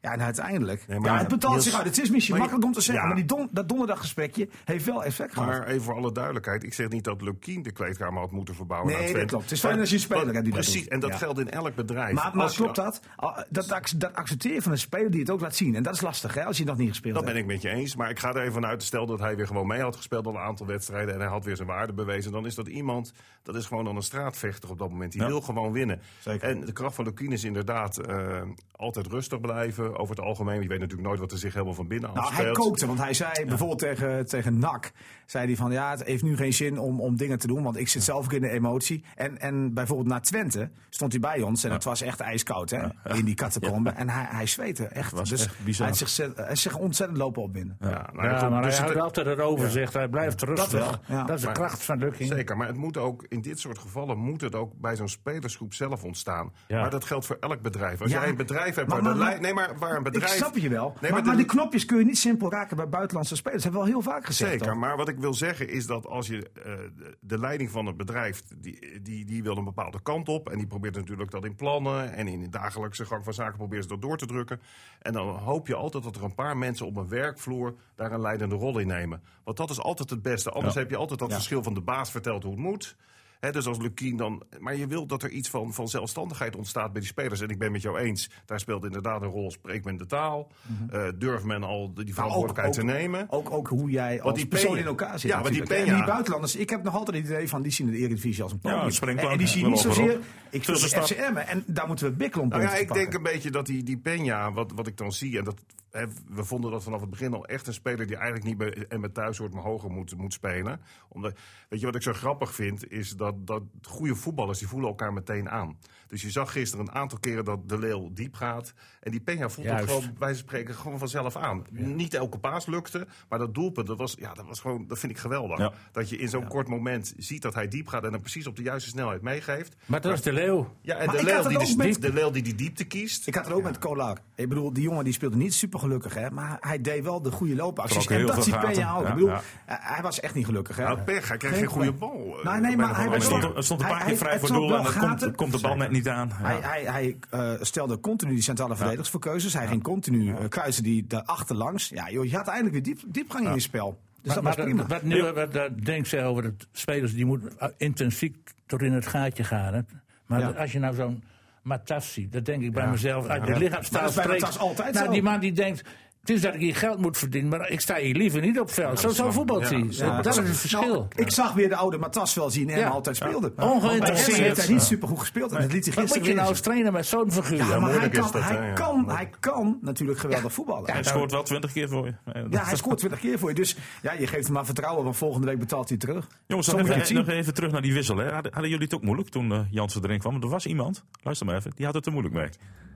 C: Ja, en uiteindelijk.
E: Nee, maar-
C: ja, het betaalt
E: Niels-
C: zich uit. Het is misschien
E: Maar je-
C: makkelijk om te zeggen,
E: ja.
C: maar die don, dat donderdaggesprekje heeft wel effect gehad.
E: Maar even voor alle duidelijkheid, ik zeg niet dat Lukien de kleedkamer had moeten verbouwen.
C: Nee,
E: aan
C: dat
E: Twente.
C: klopt. Het is fijn als je een speler
E: Maar-
C: hebt die dat
E: Precies,
C: doet.
E: en dat
C: Ja.
E: geldt in elk bedrijf.
C: Maar, maar
E: Als je-
C: klopt dat? Ah, Dat, ac- dat accepteren van een speler die het ook laat zien. En dat is lastig, hè, als je nog niet gespeeld
E: Dat
C: hebt.
E: ben ik met je eens. Maar ik ga er even vanuit. Stel dat hij weer gewoon mee had gespeeld al een aantal wedstrijden. En hij had weer zijn waarde bewezen. Dan is dat iemand. Dat is gewoon dan een straatvechter op dat moment. Die wil gewoon winnen. En de kracht van Lukien is inderdaad eh, altijd rustig blijven. Over het algemeen. Je weet natuurlijk nooit wat er zich helemaal van binnen
C: Nou,
E: afspeelt.
C: hij kookte, want hij zei bijvoorbeeld tegen, tegen NAC, zei hij van ja, het heeft nu geen zin om, om dingen te doen, want ik zit zelf ook in de emotie. En, en bijvoorbeeld na Twente stond hij bij ons en het was echt ijskoud hè, in die catacombe. En hij, hij zweette echt.
B: was
C: dus
B: echt bizar.
C: Hij had zich, zet- hij had zich ontzettend lopen opwinden.
E: Ja, nou ja,
D: Ja,
E: goed,
D: maar
E: dus
D: hij
E: het-
D: houdt altijd het overzicht. Hij blijft rustig. Dat,
C: wel, ja.
D: is de
E: Maar-
D: kracht van Lukking.
E: Zeker, maar het moet ook in dit soort gevallen moet het ook bij zo'n spelersgroep zelf ontstaan.
D: Ja.
E: Maar dat geldt voor elk bedrijf. Als
C: Ja.
E: jij een bedrijf
C: Maar-
E: hebt, waar
C: maar-
E: de lijn, nee, maar waar een bedrijf,
C: Ik snap je wel.
E: nee,
C: maar, maar,
E: de-
C: die knopjes kun je niet simpel raken bij buitenlandse spelers. Dat hebben we al heel vaak gezegd.
E: Zeker,
C: toch?
E: maar wat ik wil zeggen is dat als je eh, de- de leiding van het bedrijf, die, die, die wil een bepaalde kant op. En die probeert natuurlijk dat in plannen en in de dagelijkse gang van zaken probeert ze dat door te drukken. En dan hoop je altijd dat er een paar mensen op een werkvloer daar een leidende rol in nemen. Want dat is altijd het beste. Anders heb je altijd dat verschil van de baas vertelt hoe het moet. Hè, dus als Lukien dan. Maar je wil dat er iets van, van zelfstandigheid ontstaat bij die spelers. En ik ben met jou eens, daar speelt inderdaad een rol. Spreekt men de taal? Eh, durft men al die verantwoordelijkheid
C: Mhm. Nou, ook-
E: te nemen?
C: Ook, ook hoe jij als
E: die
C: persoon
E: Peña-
C: in elkaar zit.
E: Ja, want die
C: natuurlijk.
E: Peña-
C: En die buitenlanders, ik heb nog altijd het idee van die zien de Eredivisie als een
B: Ja,
C: podium.
B: een springplank.
C: en, en die zien
B: Wel
C: niet
B: overal.
C: zozeer, ik speel
B: Tussenstap.
C: FCM en daar moeten we bikkelen om
E: Nou
C: punten te
E: ja, ik
C: pakken.
E: denk een beetje dat die, die Peña, wat, wat ik dan zie, en dat hè, we vonden dat vanaf het begin al echt een speler die eigenlijk niet bij en met thuis hoort, maar hoger moet, moet spelen. Omdat, weet je wat ik zo grappig vind, is dat, dat goede voetballers die voelen elkaar meteen aan. Dus je zag gisteren een aantal keren dat De Leeuw diep gaat. En die Peña voelt het
D: Juist.
E: gewoon, wij spreken, gewoon vanzelf aan. Niet elke paas lukte, maar dat doelpunt, dat, was, ja, dat, was gewoon, dat vind ik geweldig.
B: Ja.
E: Dat je in zo'n kort moment ziet dat hij diep gaat en dan precies op de juiste snelheid meegeeft.
D: Maar dat is de leeuw.
E: Ja, en
C: Maar
E: de
C: ik had
E: Leel,
C: het
E: die
C: ook
E: de,
C: met-
E: de Leel die die diepte kiest.
C: Ik had er ook met Kolak. Ik bedoel, die jongen die speelde niet super gelukkig, hè, maar hij deed wel de goede loopacties.
B: Trok heel
C: En dat
B: veel
C: ziet
B: gaten.
C: Peña ook.
B: Ja,
C: ik bedoel,
B: ja.
C: eh, hij was echt niet gelukkig. Hè. Nou,
E: Nou, pech, hij kreeg geen goede bal. eh,
C: Nee,
E: op
C: nee,
E: een of
C: maar
E: andere
C: hij
B: Er
C: was
E: manier.
B: stond,
C: wel-
B: er stond een paar
C: Hij-
B: keer
C: hij-
B: vrij
C: hij
B: voor
C: trok
B: doel en
C: wel
B: dan komt,
C: gaten.
B: komt de bal net niet aan. Ja.
C: Hij, hij, hij eh, stelde continu die centrale verdedigers voor keuzes. Hij ging continu eh, kruisen die daarachter langs. Ja, joh, je had eindelijk weer diep, diepgang in je spel. Dus dat was
D: maar
C: prima.
D: wat nu, wat dat Denk zei over de spelers, die moeten eh, intensief tot in het gaatje gaan. Hè. Maar
C: Ja.
D: als je nou zo'n Matas ziet, dat denk ik bij mezelf. Uit de
C: Maar
D: lichaamstaal
C: dat is bij
D: spreekt-
C: Matas altijd
D: nou,
C: zo.
D: Die man die denkt, het is dat ik hier geld moet verdienen, maar ik sta hier liever niet op het veld. zo zou voetbal zien. Dat is het verschil.
C: Nou, ik zag weer de oude Matas wel zien en
D: Ja.
C: altijd speelde.
D: Ja. Ongeïnteresseerd.
C: Hij heeft hij niet super goed gespeeld. En dat liet hij
D: Wat
C: gisteren
D: moet je nou
C: weer
D: eens trainen met zo'n
C: zien.
D: figuur?
C: Ja, maar hij
E: moeilijk
C: kan,
E: is dat, hè?
C: hij,
E: Ja,
C: kan, hij kan natuurlijk geweldig voetballen.
B: Hij scoort wel twintig keer voor je.
C: Ja, hij scoort 20 keer voor je. Dus ja, je geeft hem maar vertrouwen, want volgende week betaalt hij terug.
B: Jongens,
C: Zo
B: nog
C: moet je het
B: even,
C: zien.
B: nog even terug naar die wissel. Hè. Hadden, hadden jullie het ook moeilijk toen eh, Jansen erin kwam? Want er was iemand, luister maar even, die had het er moeilijk mee.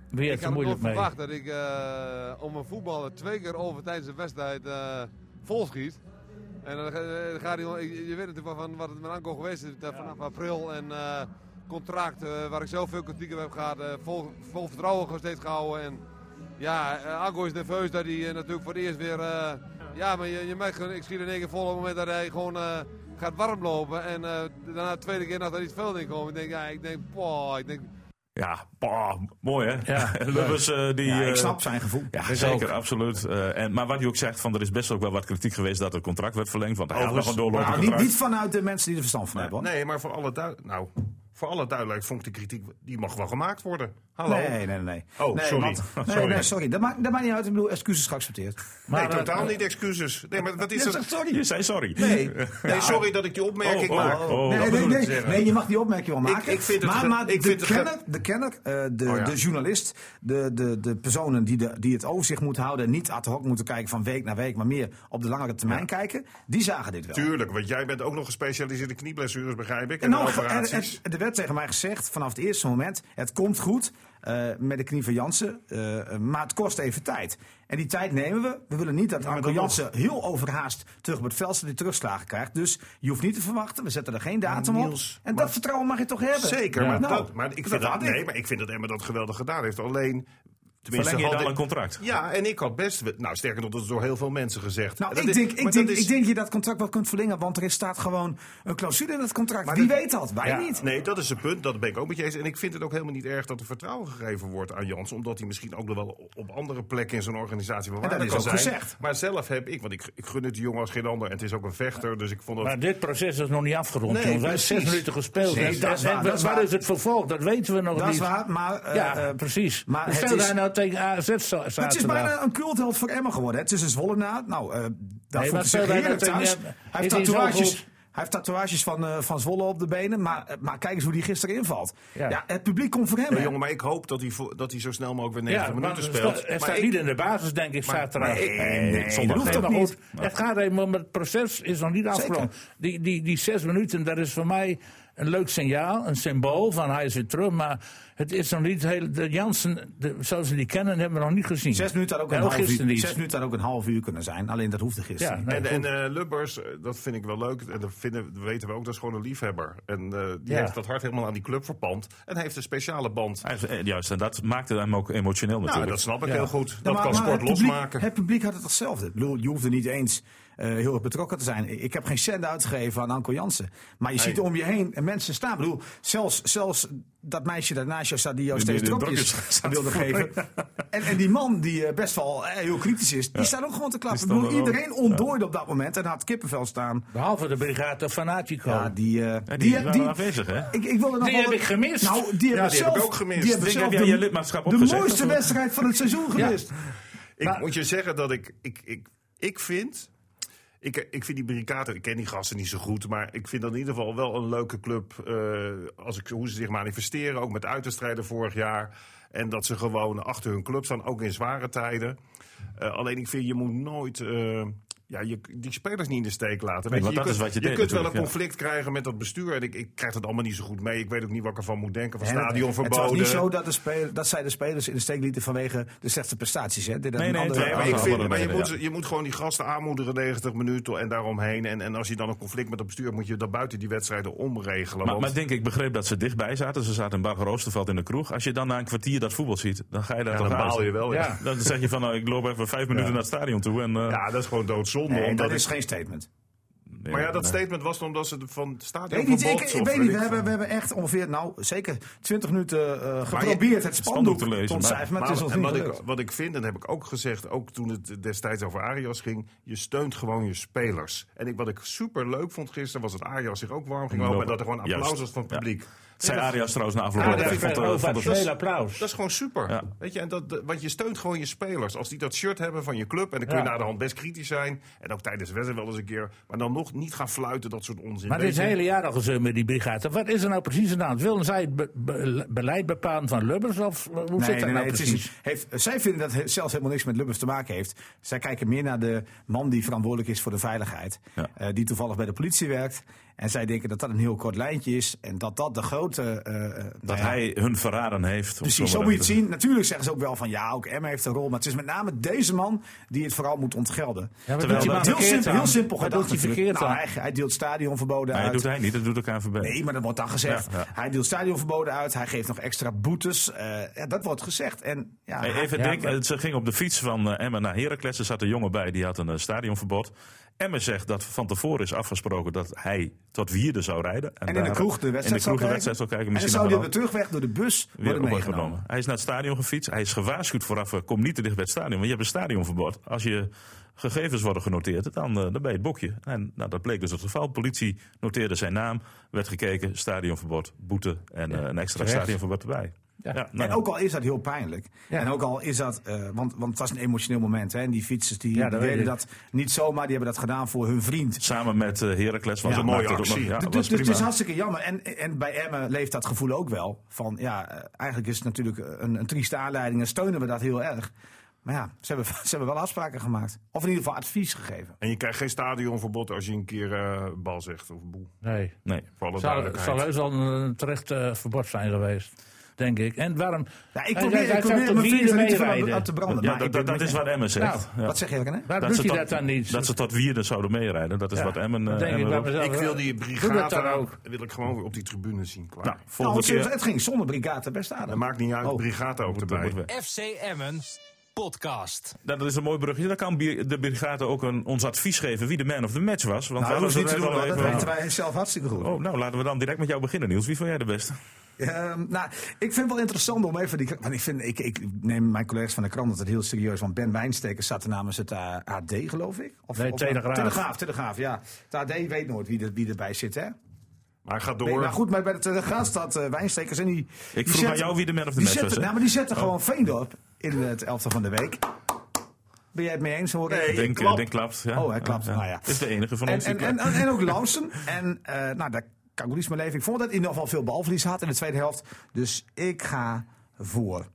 D: Weer
F: Ik
D: te
F: had het nooit
D: moeilijk mee.
F: verwacht dat ik eh, om een voetballer twee keer over tijdens de wedstrijd eh volschiet. En dan, eh, dan gaat hij, je, je weet natuurlijk wel van wat het met Anko geweest is eh, vanaf april. En eh, contract eh, waar ik zelf veel kritiek op heb gehad, eh, vol, vol vertrouwen gesteed gehouden. En, ja, eh, Anko is nerveus dat hij eh, natuurlijk voor het eerst weer... eh, ja, maar je, je merkt, gewoon, ik schiet in één keer vol op het moment dat hij gewoon eh, gaat warmlopen. En eh, daarna de tweede keer dat er iets veel in komt. Ik denk, ja, ik denk, poh, ik denk,
B: Ja, bah, mooi hè?
D: Ja.
B: Lubbers eh, die...
C: Ja, ik
B: eh,
C: snap zijn gevoel.
B: Ja, zeker, absoluut. Eh, en, maar wat je ook zegt, van, er is best ook wel wat kritiek geweest dat het contract werd verlengd. Want hij had nog een
E: Overigens-
B: doorlopend
C: Nou, niet,
B: contract.
C: niet vanuit de mensen die er verstand van hebben. hoor.
E: Nee, maar voor alle, duid nou, voor alle duidelijkheid vond ik de kritiek, die mag wel gemaakt worden. Hallo.
C: Nee, nee, nee.
E: Oh,
C: nee,
E: sorry.
C: want- nee,
E: Sorry.
C: nee, sorry. Dat maakt, dat maakt niet uit. Ik bedoel, excuses geaccepteerd.
E: Nee,
D: eh,
E: totaal niet excuses. Nee, maar wat is dat?
C: sorry.
B: Je zei sorry. Eh,
E: Nee, nee, sorry dat ik die opmerking
B: Oh, oh,
E: maak.
B: oh.
C: nee,
E: dat
C: nee,
E: bedoel ik
C: nee,
E: te zeggen.
C: nee, je mag die opmerking wel maken.
E: ik vind het
C: maar
E: ge-
C: maar
E: ik
C: de,
E: vind het ge-
C: kenner, de kenner, eh, de,
E: Oh ja.
C: de journalist, de, de, de personen die, de, die het overzicht moeten houden... en niet ad hoc moeten kijken van week naar week... maar meer op de langere termijn kijken, die zagen dit wel.
E: Tuurlijk, want jij bent ook nog gespecialiseerd in knieblessures, begrijp ik. En,
C: En nou,
E: in operaties.
C: en- en- er werd tegen mij gezegd vanaf het eerste moment: het komt goed eh, met de knie van Jansen, eh, maar het kost even tijd. En die tijd nemen we. We willen niet dat Anko
E: dat
C: Jansen heel overhaast terug op het veld staat, die terugslagen krijgt. Dus je hoeft niet te verwachten, we zetten er geen datum op.
E: Niels,
C: En
E: maar-
C: dat vertrouwen mag je toch hebben?
E: Zeker, maar,
C: Nou,
E: dat, maar, ik vind dat,
C: had ik.
E: nee, maar ik vind dat Emma dat geweldig gedaan heeft. Alleen, tenminste,
B: Verleng je
E: had
B: dan
E: ik-
B: een contract?
E: Ja, en ik had best. we- Nou, sterker nog, dat is door heel veel mensen gezegd.
C: Nou,
E: Dat
C: ik
E: is-
C: denk,
E: maar
C: ik, denk,
E: dat is-
C: ik denk je dat contract wel kunt verlengen, want er staat gewoon een clausule in het contract. Wie
E: dat-
C: weet dat? Wij
E: Ja,
C: niet.
E: Nee, dat is het punt. Dat ben ik ook met je eens. En ik vind het ook helemaal niet erg dat er vertrouwen gegeven wordt aan Jans. Omdat hij misschien ook nog wel op andere plekken in zo'n organisatie van
C: dat
E: waarde
C: is
E: kan
C: ook
E: zijn.
C: gezegd.
E: Maar zelf heb ik, want ik, ik gun het die jongen als geen ander. En het is ook een vechter, dus ik vond dat...
D: Maar dit proces is nog niet afgerond.
E: Nee,
D: jongens. Wij hebben zes
E: precies.
D: minuten gespeeld.
C: Nee,
D: En-
C: dat is
D: en-
C: waar,
D: en
C: dat is
D: waar
C: waar.
D: is het vervolg? Dat weten we nog
C: Dat
D: niet.
C: is waar, maar... eh,
D: ja,
C: eh,
D: precies.
C: maar het
D: Stel
C: is-
D: daar nou tegen AZ za- zaterdag.
C: Het is bijna een cultheld voor Emmen geworden. hè. Het is een Zwollenaar. Nou, eh daar
D: maar
C: voelt hij
D: verder,
C: zich heerlijk
D: dat-
C: thuis.
D: ja,
C: Hij
D: is
C: heeft
D: hij zo
C: tatoeages...
D: goed?
C: Hij heeft tatoeages van, eh, van Zwolle op de benen, maar, eh, maar kijk eens hoe die gisteren invalt. Ja.
D: Ja.
C: het publiek komt voor hem.
E: Nee,
C: hè.
E: jongen, maar ik hoop dat hij, vo- dat hij zo snel mogelijk weer
D: Ja,
E: 90
D: maar
E: minuten
D: het
E: speelt.
D: staat- het
E: Maar
D: staat
E: ik-
D: niet in de basis, denk ik, zaterdag.
E: nee, nee, nee,
D: zondag.
C: dat hoeft
D: maar
C: ook
D: goed, Het gaat even om het proces, is nog niet afgerond. Die, die, die zes minuten, dat is voor mij een leuk signaal, een symbool van hij is weer terug. Maar het is nog niet heel. De Jansen, de- zoals we die kennen, hebben we nog niet gezien.
C: Zes minuten had ook
D: En
C: een half
D: gisteren
C: uur.
D: niet.
C: Zes minuten had ook een half uur kunnen zijn. Alleen dat hoefde
D: Ja,
C: gisteren. niet.
D: nee,
E: En,
D: goed.
E: en eh, Lubbers, eh, dat vind ik wel leuk. En dat vinden, dat weten we ook, dat is gewoon een liefhebber. En eh, die
D: Ja.
E: heeft dat hart helemaal aan die club verpand. En heeft een speciale band.
B: Hij heeft- eh, Juist, en dat maakte hem ook emotioneel
E: Nou,
B: natuurlijk.
E: dat snap ik
D: Ja.
E: heel goed.
C: Ja,
E: dat
C: maar-
E: kan
C: maar
E: sport
C: het publiek-
E: losmaken.
C: Het publiek had het hetzelfde. Ik bedoel, je hoefde niet eens eh, heel erg betrokken te zijn. Ik ik heb geen cent uitgegeven aan Anko Jansen. Maar je ziet om je heen mensen staan. Ik bedoel, zelfs, zelfs dat meisje dat naast jou staat die jou
B: Die-
C: steeds
B: die- die
C: trokjes
B: drukjes staat
C: wilde geven. En, en die man die eh, best wel eh, heel kritisch is, die staat ook gewoon te klappen. Ik
B: Die
C: bedoel,
B: stond er
C: iedereen ontdooide op dat moment en had kippenvel staan.
D: Behalve de brigade Fanatico.
C: Ja, die, eh,
B: die waren afwezig, hè?
C: Ik, ik wilde nog
D: Die
C: wel-
D: heb ik gemist.
C: Nou, die heb,
E: Ja,
C: ik
E: die heb
C: zelf,
E: ik ook gemist.
C: Die heb ik
B: Denk,
C: zelf
B: heb jij je
C: de,
B: lidmaatschap
C: de
B: opgezegd?
C: mooiste wedstrijd van het seizoen gemist.
E: Ik
D: Maar-
E: moet je zeggen dat ik, ik, ik, ik vind. Ik, eh, ik vind die Brikaten, ik ken die gasten niet zo goed. Maar ik vind dat in ieder geval wel een leuke club. eh, als ik, hoe ze zich manifesteren, ook met uitwedstrijden vorig jaar. En dat ze gewoon achter hun club staan, ook in zware tijden. Eh, alleen ik vind, je moet nooit... eh, ja, je, die spelers niet in de steek laten. Weet
B: want
E: je,
B: dat
E: kunt,
B: is wat je deed
E: kunt wel een
B: natuurlijk, ja.
E: conflict krijgen met dat bestuur. En ik, ik krijg dat allemaal niet zo goed mee. Ik weet ook niet wat ik ervan moet denken. Van
C: En het-
E: stadion
C: Het was niet
E: verboden.
C: zo dat, de spel, dat zij de spelers in de steek lieten vanwege de slechte prestaties. Hè? Dit had
B: Nee,
C: een
B: nee,
C: andere-
B: nee,
E: Nee, maar
B: Andere
E: ik vind,
B: andere
E: maar je,
B: reden,
E: moet,
B: ja.
E: ze- je moet gewoon die gasten aanmoedigen 90 minuten en daaromheen. En, en als je dan een conflict met het bestuur moet je dat buiten die wedstrijden omregelen.
B: Maar,
E: want-
B: maar denk ik begreep dat ze dichtbij zaten. Ze zaten in Bagger Oosterveld in de kroeg. Als je dan na een kwartier dat voetbal ziet, dan ga je daar
E: ja,
B: toch
E: dan
B: uit.
E: baal je wel. Ja,
D: Ja.
E: ja.
B: Dan zeg je van, nou, ik loop even vijf minuten naar het stadion toe. En, eh,
E: dat is gewoon doodzonde.
C: Nee,
E: omdat
C: dat is
E: ik-
C: geen statement.
B: nee,
E: maar ja, dat
B: nee.
E: statement was dan omdat ze het van het
C: Ik
E: stadion
C: weet niet, ik,
E: verbod
C: ik
E: of
C: weet niet. We
E: ik
C: hebben, we
E: veel.
C: hebben echt ongeveer, nou zeker 20 minuten eh, geprobeerd het spandoek
B: te lezen,
C: te ontcijferen. Maar het
E: Maar
C: is ons
E: en
C: niet
E: wat ik,
C: gelukt.
E: wat ik vind, en dat heb ik ook gezegd, ook toen het destijds over Arias ging, je steunt gewoon je spelers. En ik, wat ik super leuk vond gisteren, was dat Arias zich ook warm ging lopen en dat er gewoon
B: Juist.
E: applaus was van het
B: Ja.
E: publiek.
B: Zei Arias trouwens na afloop.
E: Ja,
B: ook.
E: dat
B: Ik
E: vind
B: vond,
E: ik
B: eh,
C: oh,
E: wel
B: vond het-
E: dat is-
D: Oh, veel applaus.
E: Dat is gewoon super.
B: Ja.
E: Weet je, en dat, want je steunt gewoon je spelers. Als die dat shirt hebben van je club, en dan kun je
D: Ja.
E: na de hand best kritisch zijn. En ook tijdens de wedstrijd wel eens een keer. Maar dan nog niet gaan fluiten, dat soort onzin.
D: Maar dit
E: Weet
D: is
E: je?
D: het hele jaar al gezeur met die brigade. Wat is er nou precies aan de hand? Willen zij het be- be- beleid bepalen van Lubbers? Of hoe zit dat nou
C: het is
D: precies?
C: niet- heeft, zij vinden dat het zelfs helemaal niks met Lubbers te maken heeft. Zij kijken meer naar de man die verantwoordelijk is voor de veiligheid.
B: Ja.
C: eh, die toevallig bij de politie werkt. En zij denken dat dat een heel kort lijntje is. En dat dat de grote... eh, eh,
B: Dat
C: nou ja,
B: hij hun verraden heeft.
C: Precies, zo moet je het zien. Natuurlijk zeggen ze ook wel van ja, ook Emma heeft een rol. Maar het is met name deze man die het vooral moet ontgelden.
D: maar
C: Terwijl
D: doet hij
C: dat
D: maar
C: heel
D: verkeerd
C: simpel,
D: aan?
C: heel simpel
D: Wat
C: gedacht.
D: doet hij
C: natuurlijk.
D: verkeerd
C: nou,
D: aan?
C: hij, hij deelt stadionverboden
B: Nee, dat
C: uit.
B: doet hij niet, dat doet de KNVB.
C: Nee, maar dat wordt dan gezegd.
B: Ja, ja.
C: Hij deelt stadionverboden uit. Hij geeft nog extra boetes. Eh, ja, dat wordt gezegd. En ja,
B: Hey, even
D: Ja,
B: denk,
D: maar-
B: eh, ze ging op de fiets van eh, Emmen naar Heracles. Er zat een jongen bij, die had een eh, stadionverbod. Emmen zegt dat van tevoren is afgesproken dat hij tot vierde zou rijden.
C: en in de
B: daar-
C: kroeg de
B: in de
C: wedstrijd zal
B: kroeg de
C: kijken.
B: wedstrijd zou kijken.
C: En dan
B: Misschien
C: zou
B: nog
C: hij
B: wel
C: op de terugweg door de bus
B: weer
C: worden meegenomen.
B: opgenomen. Hij is naar het stadion gefietst. Hij is gewaarschuwd vooraf, eh, kom niet te dicht bij het stadion. Want je hebt een stadionverbod. Als je gegevens worden genoteerd, dan, eh, dan ben je het bokje. En nou, dat bleek dus het geval. Politie noteerde zijn naam, werd gekeken, stadionverbod, boete en eh, een extra
D: terecht.
B: stadionverbod erbij. Ja. nou,
C: en ook al is dat heel pijnlijk. En ook al is dat, eh, want, want het was een emotioneel moment. Hè? En die fietsers die,
D: dat
C: die
D: weet
C: deden
D: ik.
C: dat niet zomaar. Die hebben dat gedaan voor hun vriend.
B: Samen met eh, Heracles was
E: Ja,
B: het
E: mooie
B: maakte het ook nog-
E: actie.
B: Ja,
C: Dus-
B: was
C: dus het
B: Ah, prima.
C: is hartstikke jammer. En, en bij Emmen leeft dat gevoel ook wel. Van ja, eh, eigenlijk is het natuurlijk een, een trieste aanleiding en steunen we dat heel erg. Maar ja, ze hebben, ze hebben wel afspraken gemaakt. Of in ieder geval advies gegeven.
E: En je krijgt geen stadionverbod als je een keer eh, bal zegt of boe.
D: Nee.
B: Nee.
E: Voor alle
D: Zou- Het zal
E: duidelijkheid.
D: heus al een terecht eh, verbod zijn geweest. Denk ik. En waarom...
C: Ja, ik
D: Hij-
C: probeer,
D: hij-
C: ik
D: hij zou
C: probeer
D: tot
C: mijn vingers er
D: Wierden
C: niet te
D: meerijden.
C: aan te
B: Ja,
C: branden. maar ik
B: dat,
C: ben
B: dat,
C: het
B: dat is
C: niet
B: wat Emmen zegt.
D: Nou,
B: Ja.
C: Wat zeg je, René?
D: Waarom
B: Dat
D: doet
B: ze
D: hij
B: tot-
D: dat dan niet?
B: Dat ze tot wierden zouden meerijden. Dat is
D: Ja,
B: wat Emmen...
D: dan
B: eh,
D: denk ik
B: Emmen wil.
D: bij mezelf,
E: Ik wil die
D: Doe dat dan
E: brigade
D: ook.
E: wil ik gewoon weer op die tribune zien. Klaar.
B: Nou,
C: Nou,
B: volgende
C: het,
B: keer...
C: het ging zonder brigade best aan.
E: dat maakt niet uit,
C: Oh.
E: brigade ook
B: Moet- moet
E: erbij.
B: weg.
A: FC Emmen podcast.
B: Nou, dat is een mooi brugje. Dan kan Bier- de brigade ook een, ons advies geven wie de man of the match was. Want
C: Nou, dat
B: we
C: hoeft niet
B: hadden
C: te
B: het
C: doen,
B: net
C: hoor. dat
B: al
C: weten
B: even-
C: wij zelf hartstikke goed.
B: Oh, nou, laten we dan direct met jou beginnen, Niels. Wie vond jij de beste?
C: Ehm, nou, ik vind het wel interessant om even die. Want ik, vind, ik, ik neem mijn collega's van de krant het heel serieus. Want Ben Wijnstekers zat er namens het eh, AD, geloof ik. Of,
D: Nee,
C: of-
D: Telegraaf.
C: Telegraaf, Telegraaf, ja. Het AD weet nooit wie, er, wie erbij zit, hè?
E: Maar ga
C: Nee,
E: door.
C: maar goed, maar bij de Telegraaf staat eh, Wijnstekers. En die, ik
B: vroeg aan jou wie de man of the match was, hè? Oh.
C: Nou, maar die zetten gewoon Veendorp in het elftal van de week. Ben jij het mee eens, hoor? ik?
E: Nee,
B: Denk, eh,
E: klap.
B: denk klapt. Ja.
C: Oh, hij klapt, nou ja.
B: Is de enige van
C: en,
B: ons die
C: en, en,
B: klapt.
C: en, en ook Lausen. En eh, nou, daar kan ik ook niets mee leven. Ik vond dat hij in ieder geval veel balverlies had in de tweede helft. Dus ik ga voor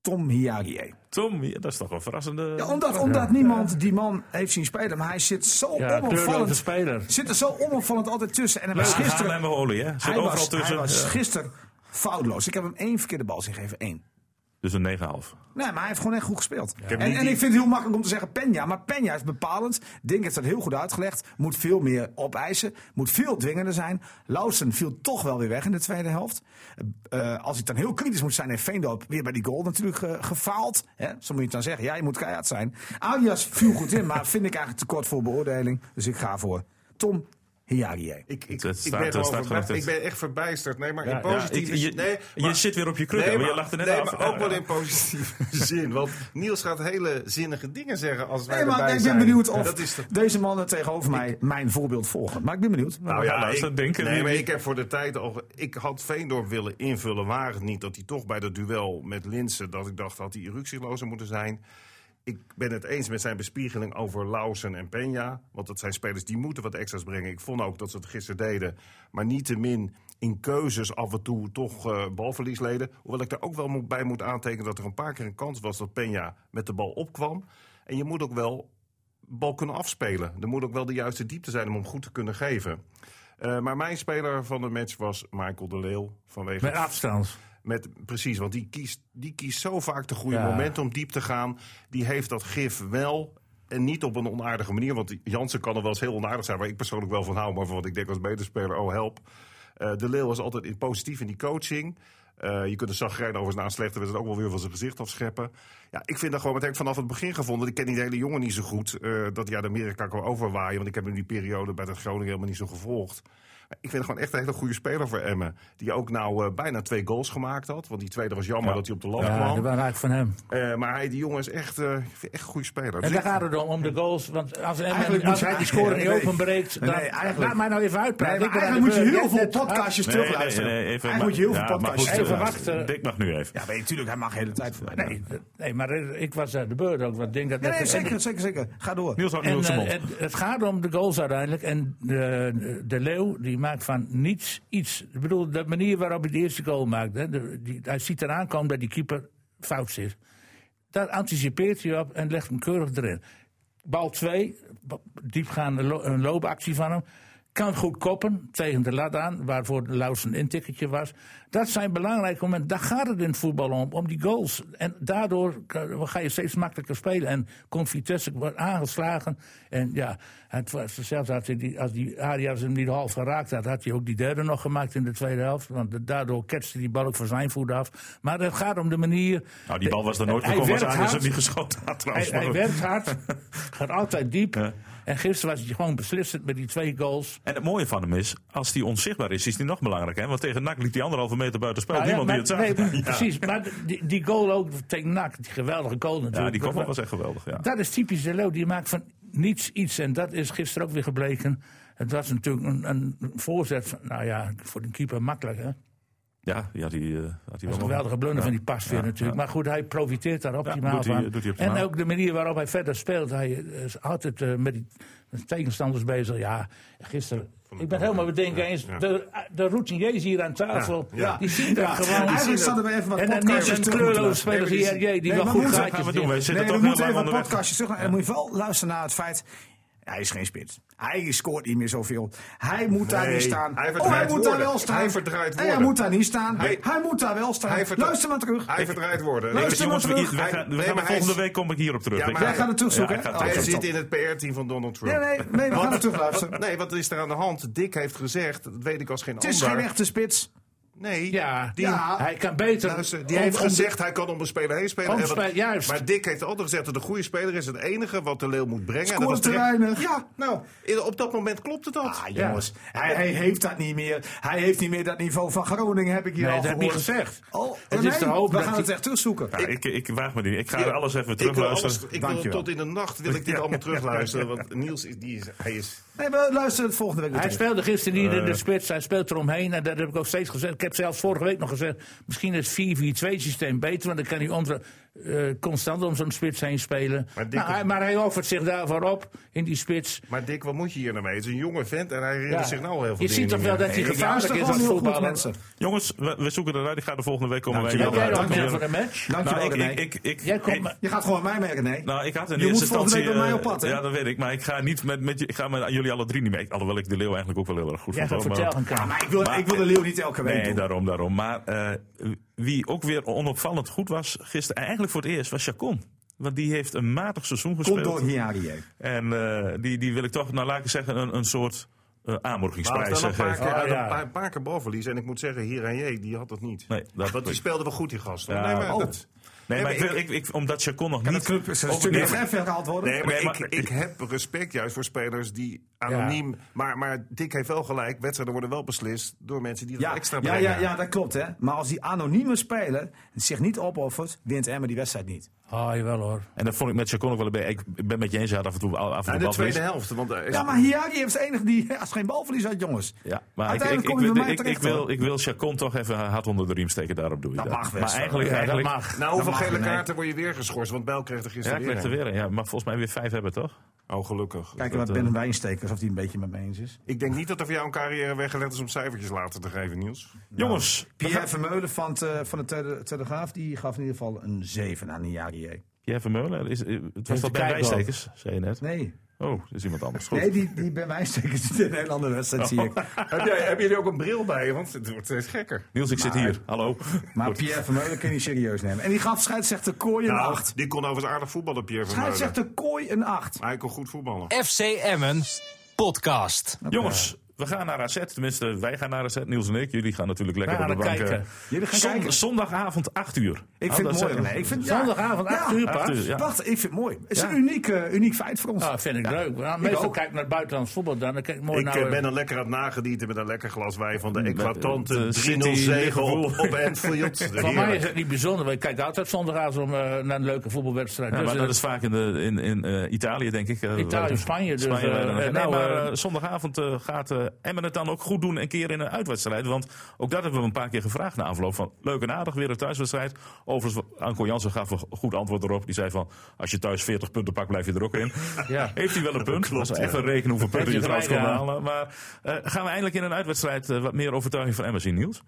C: Tom Hiagie.
B: Tom, ja, dat is toch wel verrassende...
C: Ja, omdat omdat niemand die man heeft zien spelen. Maar hij zit zo
D: Ja, kleurloze
C: onopvallend.
D: speler.
C: Zit er zo onopvallend altijd tussen. En hij
B: Ja,
C: was
B: gisteren...
C: gisteren,
B: en olie, hè? Zit
C: hij
B: overal
C: was, hij
B: tussen.
C: was
B: Ja.
C: gisteren foutloos. Ik heb hem één verkeerde bal zien geven. Één.
B: Dus een 9,5.
C: Nee, maar hij heeft gewoon echt goed gespeeld.
E: heb
C: En,
E: niet
C: en
E: die-
C: ik vind het heel makkelijk om te zeggen Penja. Maar Penja is bepalend. Dink heeft dat heel goed uitgelegd. Moet veel meer opeisen. Moet veel dwingender zijn. Lausen viel toch wel weer weg in de tweede helft. Eh, eh, als ik dan heel kritisch moet zijn, heeft Veendorp weer bij die goal natuurlijk eh, gefaald. Hè? Zo moet je het dan zeggen. Ja, je moet keihard zijn. Alias viel goed in, maar vind ik eigenlijk tekort voor beoordeling. Dus ik ga voor Tom Hiagie.
E: Ik, ik,
B: Het- het
E: ik
B: staat-
E: ben
B: het
E: gewoon
B: staat
E: verbaasd.
B: gelukkig.
E: ik ben echt verbijsterd. Nee, maar
D: Ja,
E: in
D: ja,
E: positieve
B: ik- je-
E: zin- nee,
B: je
E: maar-
B: zit weer op je kruk, hè, maar je lacht er net
E: nee,
B: af.
E: maar ook
B: Ja,
E: wel
B: ja.
E: in positieve zin. Want Niels gaat hele zinnige dingen zeggen als wij
C: Nee, maar
E: erbij
C: ik ben
E: zijn.
C: benieuwd of
E: Dat is toch-
C: deze mannen tegenover mij mijn voorbeeld volgen. Maar ik ben benieuwd.
E: Nou ja,
B: laat ze
E: ik,
B: denken.
E: nee, maar ik heb voor de tijd al. Ik had Veendorp willen invullen. Waar het niet dat hij toch bij dat duel met Linsen. dat ik dacht dat hij eructielozer moeten zijn. Ik ben het eens met zijn bespiegeling over Lausen en Peña. Want dat zijn spelers die moeten wat extra's brengen. Ik vond ook dat ze het gisteren deden. Maar niettemin in keuzes af en toe toch eh, balverlies leden. Hoewel ik daar ook wel moet, bij moet aantekenen dat er een paar keer een kans was dat Peña met de bal opkwam. En je moet ook wel bal kunnen afspelen. Er moet ook wel de juiste diepte zijn om hem goed te kunnen geven. Eh, maar mijn speler van de match was Michael de Leeuw. Vanwege
D: Met afstand.
E: met, precies, want die kiest, die kiest zo vaak de goede
D: Ja.
E: momenten om diep te gaan. Die heeft dat gif wel. En niet op een onaardige manier. Want Jansen kan er wel eens heel onaardig zijn. Waar ik persoonlijk wel van hou. Maar van wat ik denk als medespeler, oh help. Eh, de Leeuw was altijd in- positief in die coaching. Eh, je kunt de Zagrijn overigens na een slechte wedstrijd ook wel weer van zijn gezicht afscheppen. Ja, ik vind dat gewoon meteen vanaf het begin gevonden. Ik ken die hele jongen niet zo goed. eh, dat hij uit Amerika kan overwaaien. Want ik heb hem die periode bij dat Groningen helemaal niet zo gevolgd. Maar Ik vind het gewoon echt een hele goede speler voor Emmen. Die ook nou eh, bijna twee goals gemaakt had. Want die tweede was jammer dat hij op de lat
D: Ja, dat
E: kwam.
D: was eigenlijk van hem.
E: Eh, maar hij, die jongen is echt, eh, ik vind echt een goede speler. Dus
D: En
E: ik-
D: daar gaat het om, om de goals. Want als,
C: Eigenlijk
D: Emmen-
C: moet
D: als
C: je-
D: hij die score niet
C: nee.
D: openbreekt, dan...
C: Nee, eigenlijk-
D: Laat mij nou even uitpraten.
C: Nee, maar
D: Ik ben
C: eigenlijk moet je
D: aan de
C: heel
D: beurt.
C: veel
D: Net-
C: podcastjes
B: Nee, nee,
C: terugluisteren.
B: nee, even,
C: eigenlijk
B: maar-
C: moet je heel
B: ja,
C: veel
B: maar
C: podcastjes
B: goed,
D: Even
B: eh,
C: terugluisteren.
D: wachten.
B: Dick mag nu even.
C: Ja, weet je, tuurlijk, hij mag de hele tijd voorbij.
D: Nee, nee, maar eh, ik was aan de beurt ook. Want ik denk dat
C: Nee,
D: dat-
C: nee,
D: en-
C: zeker, zeker, zeker. Ga door.
B: Niels houdt nu
D: En,
B: ook zijn
D: eh,
B: mond.
D: het, het gaat om de goals uiteindelijk. En de, de Leeuw die maakt van niets iets. Ik bedoel, de manier waarop hij de eerste goal maakt. Hè, de- die, hij ziet eraan komen dat die keeper fout zit. Daar anticipeert hij op en legt hem keurig erin. Bal 2, diepgaande lo- een loopactie van hem. Kan goed koppen tegen de lat aan, waarvoor Laus een intikketje was. Dat zijn belangrijke momenten. Daar gaat het in het voetbal om, om die goals. En daardoor ka- ga je steeds makkelijker spelen. En komt Vitesse wordt aangeslagen. En ja, het was zelfs als die, als die Arias hem niet half geraakt had, had hij ook die derde nog gemaakt in de tweede helft. Want daardoor ketste die bal ook van zijn voet af. Maar het gaat om de manier.
B: Nou, die bal was er nooit
D: Hij
B: gekomen als
D: werkt
B: Arias hem
D: hard.
B: niet geschoten had
D: Hij,
B: trouwens. maar
D: hij
B: goed.
D: werkt hard, gaat altijd diep.
B: Ja. Oh,
D: En gisteren was hij gewoon beslissend met die twee goals.
B: En het mooie van hem is, als hij onzichtbaar is, is hij nog belangrijk. Hè? Want tegen NAC liep hij anderhalve meter buiten spel.
D: Nou ja,
B: Niemand
D: maar-
B: die
D: nee,
B: het zag.
D: maar Precies, maar die, die goal ook tegen NAC, die geweldige goal natuurlijk.
B: ja, die kop was echt geweldig. Ja.
D: Dat is typisch de Leeuw, die maakt van niets iets. En dat is gisteren ook weer gebleken. Het was natuurlijk een, een voorzet, van- nou ja, voor de keeper makkelijk hè.
B: Ja, ja, die eh, had hij wel.
D: Een geweldige blunder van die pas weer natuurlijk. Maar goed, hij profiteert daar optimaal
B: doet hij-
D: van.
B: doet hij optimaal.
D: en ook de manier waarop hij verder speelt. Hij eh, is altijd eh, met die tegenstanders bezig. Ja, gisteren... Ik ben helemaal bedenken eens. De, de routiniers hier aan tafel,
E: ja.
D: die zien dat gewoon.
C: Eigenlijk zaten we even wat
D: en dan
C: podcastjes
D: niet een
C: terug
D: kleurloze
C: moeten
D: speler die, die, die
C: Nee,
D: wel
C: maar
D: goed
C: moeten-
D: gaatjes
B: gaan we doen.
D: dicht.
B: Wij zitten
C: nee,
B: toch
C: we
B: heel
C: moeten
B: lang
C: even een
B: onderweg.
C: podcastje terug. En dan moet je wel luisteren naar het feit. Hij is geen spits. Hij scoort niet meer zoveel. Hij moet daar
E: Nee,
C: niet staan.
E: hij
C: oh, hij
E: verdraait
C: moet daar
E: woorden.
C: wel staan.
E: Hij verdraait
C: En hij
E: woorden.
C: moet daar niet staan. Hij,
E: Hij-
C: moet daar wel staan.
E: hij verdraait-
C: Luister maar terug.
E: Hij verdraaid worden.
C: Luister
E: Nee,
B: Jongens, we,
C: terug.
B: we gaan, we
E: Hij- nee,
B: gaan
E: maar hij
B: volgende
E: is-
B: week kom ik hierop terug.
E: Ja,
B: Ik-
E: maar
C: Jij gaat het terugzoeken.
B: Ja, ik ga
C: hè?
B: het
E: Hij
C: Oh,
E: zit in het PR-team van Donald Trump.
C: Nee, nee, nee, we gaan het terugluisteren.
E: Wat- Nee, wat is er aan de hand? Dick heeft gezegd, dat weet ik als geen
C: Het is
E: ander.
C: geen echte spits.
E: Nee,
D: Ja,
E: die,
C: Ja.
D: hij kan beter.
E: Luister, Nou, die
D: om-
E: heeft
D: om de-
E: gezegd hij kan om een speler heen spelen.
D: Om
E: En wat-
D: spelen, juist.
E: Maar Dick heeft altijd gezegd dat de goede speler is het enige wat de Leeuw moet brengen. En dat
C: Scoort
E: was
C: te
E: terecht.
C: weinig.
E: Ja, nou, in- op dat moment klopte dat.
C: Ah, jongens. Hij, hij heeft dat niet meer. Hij heeft niet meer dat niveau van Groningen, heb ik hier
D: Nee,
C: al
D: dat heb
C: gehoord.
D: ik niet gezegd.
C: Oh,
D: Het
C: nee,
D: is te hopen
C: we
D: dat
C: gaan
D: hij-
C: het echt terugzoeken.
B: Ja, ik, ik waag me niet. Ik ga er alles even
E: Ik wil, alles,
B: terugluisteren.
E: ik wil
C: Dankjewel.
E: tot in de nacht wil ik dit allemaal terugluisteren. Want Niels, is, die is, hij is...
C: Nee, we luisteren het volgende week weer
D: Hij
C: terug.
D: speelde gisteren niet in de spits, hij speelt eromheen. En dat heb ik ook steeds gezegd. Ik heb zelfs vorige week nog gezegd. Misschien is het 4-4-2 systeem beter, want dan kan hij onder, eh, constant om zo'n spits heen spelen.
E: Maar
D: Maar,
E: Dick-
D: hij, maar hij offert zich daarvoor op in die spits.
E: Maar Dick, wat moet je hier nou mee? Het is een jonge vent en hij herinnert
D: Ja.
E: zich nou al heel veel
D: je ziet toch wel dat
C: Ik
D: hij
C: luister
D: gevaarlijk is
C: gewoon
D: als
C: heel goed,
D: voetballer. Nou,
C: mensen.
B: Jongens, we, we zoeken eruit. Ik ga de volgende week komen.
D: Heb jij nog meer van
B: Nou,
D: de match?
C: Dankjewel,
B: ik,
C: René.
B: ik, ik, ik,
D: Jij komt,
B: ik-
C: Je gaat gewoon mij merken, nee.
B: Nou, ik had in
C: Je
B: eerste
C: moet volgende
B: instantie...
C: week bij mij op
B: eh,
C: pad, hè?
B: Ja, dat weet ik. Maar ik ga niet met, met, je- ik ga met jullie alle drie niet mee. Alhoewel ik de Leeuw eigenlijk ook wel heel erg goed
D: jij gaat
B: vond. hoor,
D: vertellen,
B: maar-
D: Kaan.
C: maar ik wil,
B: maar-
C: ik wil de leeuw niet elke week
B: Nee,
C: doen.
B: daarom, daarom. Maar eh, wie ook weer onopvallend goed was gisteren, en eigenlijk voor het eerst, was Chacon. Want die heeft een matig seizoen
C: Komt
B: gespeeld.
C: door Hiari heen.
B: En eh, die, die wil ik toch, nou laat ik zeggen, een, een soort eh
E: Maar hij
B: aanmoedigingsprijs
E: had wel een
B: eh, geven.
E: paar keer,
D: Oh,
E: hij had
D: ja.
E: een paar, een paar keer balverlies. En ik moet zeggen, hier en je, die had dat niet.
B: Nee, dat
E: Want die speelde wel goed, die gast. hoor.
B: Ja,
E: nee, maar
B: oh.
E: dat-
B: Nee, maar ik
E: Nee, maar
B: wil, ik, ik, omdat Chacon nog
C: Die
B: niet...
C: club is een
D: Oh,
B: of-
C: stukje
B: nee, maar-
C: ver gehaald worden.
E: Nee, maar,
B: Nee, maar-
E: ik, ik heb respect juist voor spelers die anoniem... Maar, maar Dick heeft wel gelijk, wedstrijden worden wel beslist door mensen die
C: Ja,
E: dat extra
C: ja,
E: brengen.
C: ja, ja, dat klopt, hè. Maar als die anonieme speler zich niet opoffert, wint Emma die wedstrijd niet.
D: Oh, jawel hoor.
B: En dat vond ik met Chacon ook wel een beetje... Ik ben met je eens, hij had af en toe af en toe
E: Ja, de
B: balverlies.
E: tweede helft. Want, eh,
C: Ja, maar Hiari is de enige die als geen geen balverlies uit, jongens.
B: Ja, maar ik, ik,
C: Uiteindelijk
B: ik,
C: kom je bij
B: wil-
C: mij
B: ik, ik
C: terecht,
B: wil,
C: hoor.
B: ik wil Chacon toch even hard onder de riem steken. Daarop doe je
C: Dat
B: dat.
C: mag best.
B: Maar eigenlijk,
D: Ja, dat
B: eigenlijk
D: mag.
E: Na Nou, hoeveel gele
C: nee.
E: kaarten word je weer geschorst? Want Bijl kreeg er
B: Ja,
E: gisteren
B: ik leg er
E: weer.
B: weer een. Ja, mag volgens mij weer vijf hebben, toch?
E: een. Oh, gelukkig.
C: Kijken wat
B: Dat,
C: Ben
B: eh,
C: Wijnstekers, of die een beetje met me eens is.
E: Ik denk niet dat er voor jou een carrière weggelegd is om cijfertjes later te geven, Niels.
B: Jongens,
C: Pierre Vermeulen van, het, eh, van de Tele- Telegraaf die gaf in ieder geval een 7 aan Niarie.
B: Pierre Vermeulen. Is, eh, het was
D: Heeft
B: wel
D: de
B: bij
D: kijkbal.
B: Wijstekers, zei je net.
C: Nee,
B: Oh, dat is iemand anders. Goed.
C: nee die, die Ben Wijnstekers doet een hele andere wedstrijd, zie ik.
E: heb, jij, hebben jullie ook een bril bij je? Want het wordt steeds gekker.
B: Niels, ik zit hier. Hallo.
C: Maar Pierre Vermeulen kun je niet serieus nemen. En die gaf scheidsrechter Kooi een 8.
E: Nou, die kon overigens aardig voetballen, Pierre van Meulen.
C: Scheidsrechter Kooi een 8.
E: Maar hij kon goed voetballen.
A: FC Emmen podcast.
B: Jongens, we gaan naar AZ. Tenminste, wij gaan naar AZ. Niels en ik. Jullie gaan natuurlijk lekker
D: We gaan
B: op de
D: er
B: bank. eh,
D: kijken.
C: Jullie gaan
B: zon-
C: kijken.
B: Zondagavond 8 uur.
C: Ik
B: Oh,
C: vind
B: dat
C: het mooi.
B: zeggen we.
C: René. Ik vind, ja.
D: Zondagavond 8
C: Ja.
D: uur
B: Acht
D: pas.
B: uur, ja.
C: Prachtig, ik vind het mooi. Het is een uniek, eh, uniek feit voor ons.
D: Ah, vind ik leuk. Nou,
C: Ik
D: meestal
C: ook.
D: kijk ik naar het buitenlands voetbal dan. Dan kijk ik mooi
E: Ik
D: naar...
E: eh,
D: eh,
E: ben er lekker aan het nagedieten met een lekker glas wijn
C: Mm,
E: van de
B: eh,
E: eclatante
B: eh,
E: 3-0
B: City,
E: zege op,
B: Liverpool.
E: op Anfield.
D: Voor mij
E: Heerlijk.
D: is het niet bijzonder, want ik kijk altijd zondagavond om, eh, naar een leuke voetbalwedstrijd.
B: Ja,
D: Dus,
B: maar dat
D: eh,
B: is vaak in, de, in, in eh, Italië, denk ik. eh,
D: Italië, Spanje, dus,
B: Spanje
D: eh,
B: bijna.
D: eh,
B: nee,
D: nou,
B: maar
D: eh,
B: eh, zondagavond eh, gaat eh, Emmen het dan ook goed doen een keer in een uitwedstrijd. Want ook dat hebben we een paar keer gevraagd na afloop. Van, leuk en aardig, weer een thuiswedstrijd. Overigens, Anko Jansen gaf een goed antwoord erop. Die zei van, als je thuis 40 punten pakt, blijf je er ook in.
D: Ja.
B: Heeft hij wel een punt.
E: klopt,
B: Dat
E: ja.
B: is even rekenen hoeveel punten je
D: Heeft hij
B: trouwens kon halen.
D: gelijk, ja.
B: Maar eh, gaan we eindelijk in een uitwedstrijd eh, wat meer overtuiging van Emmen zien, Niels?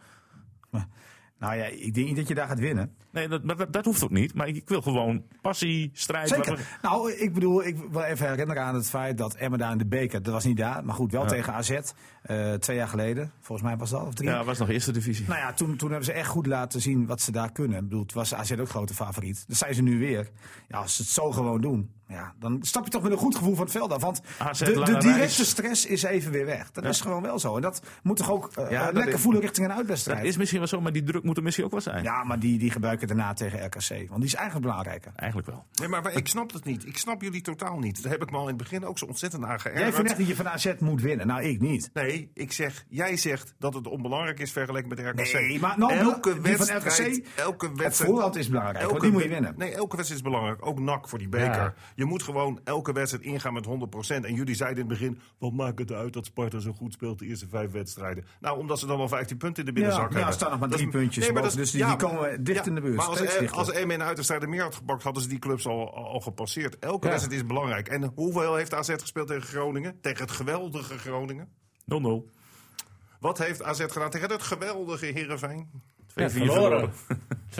C: Nou ja, ik denk niet dat je daar gaat winnen.
B: Nee, dat, maar dat, dat hoeft ook niet. Maar ik wil gewoon passie, strijd. wat we-
C: Zeker. Nou, ik bedoel, ik wil even herinneren aan het feit dat Emma daar in de beker, dat was niet daar, maar goed, wel tegen AZ, eh, twee jaar geleden, volgens mij was dat, of drie.
B: Ja, was nog eerste divisie.
C: Nou ja, toen, toen hebben ze echt goed laten zien wat ze daar kunnen. Ik bedoel, het was AZ ook grote favoriet. Dat zijn ze nu weer. Ja, als ze het zo gewoon doen, ja, dan stap je toch met een goed gevoel van het veld af. Want
B: AZ
C: de, de
B: lange
C: directe
B: reis.
C: stress is even weer weg. Dat is gewoon wel zo. En dat moet toch ook eh,
B: Ja,
C: eh,
B: dat
C: lekker
B: is-
C: voelen richting een
B: Dat
C: uitwedstrijd.
B: is misschien wel zo, maar die druk moet er misschien ook wel zijn.
C: Ja, maar die, die gebruiken daarna tegen RKC. Want die is eigenlijk belangrijker.
B: Eigenlijk wel.
E: Nee, maar wij- ik snap dat niet. Ik snap jullie totaal niet. Daar heb ik me al in het begin ook zo ontzettend aan geërgerd.
C: Jij vindt echt dat je van AZ moet winnen. Nou, ik niet.
E: Nee, ik zeg, jij zegt dat het onbelangrijk is vergeleken met RKC.
C: Nee, maar nou,
E: elke
C: die van
E: wedstrijd,
C: RKC
E: elke
C: Het
E: wedstrijd,
C: voorhand is belangrijk,
E: elke
C: want die moet je
E: wed-
C: winnen.
E: Nee, elke wedstrijd is belangrijk. Ook NAC voor die beker.
D: Ja.
E: Je moet gewoon elke wedstrijd ingaan met 100%. En jullie zeiden in het begin, wat maakt het uit dat Sparta zo goed speelt de eerste vijf wedstrijden? Nou, omdat ze dan al 15 punten in de binnenzak
C: Ja, ja,
E: hebben.
C: staan nog maar
E: Dat is-
C: drie puntjes
E: maar
C: boven,
E: dat-
C: dus die- die komen dicht in de buurt,
E: Maar als,
C: steeds
E: eh,
C: dichter.
E: als Emmen en Uiterstrijden meer had gepakt, hadden ze die clubs al, al, al gepasseerd. Elke
D: Ja.
E: wedstrijd is belangrijk. En hoeveel heeft AZ gespeeld tegen Groningen? Tegen het geweldige Groningen?
B: 0-0.
E: Wat heeft AZ gedaan tegen het geweldige Heerenveen?
D: ja,
B: 2-4
D: verloren. 2-4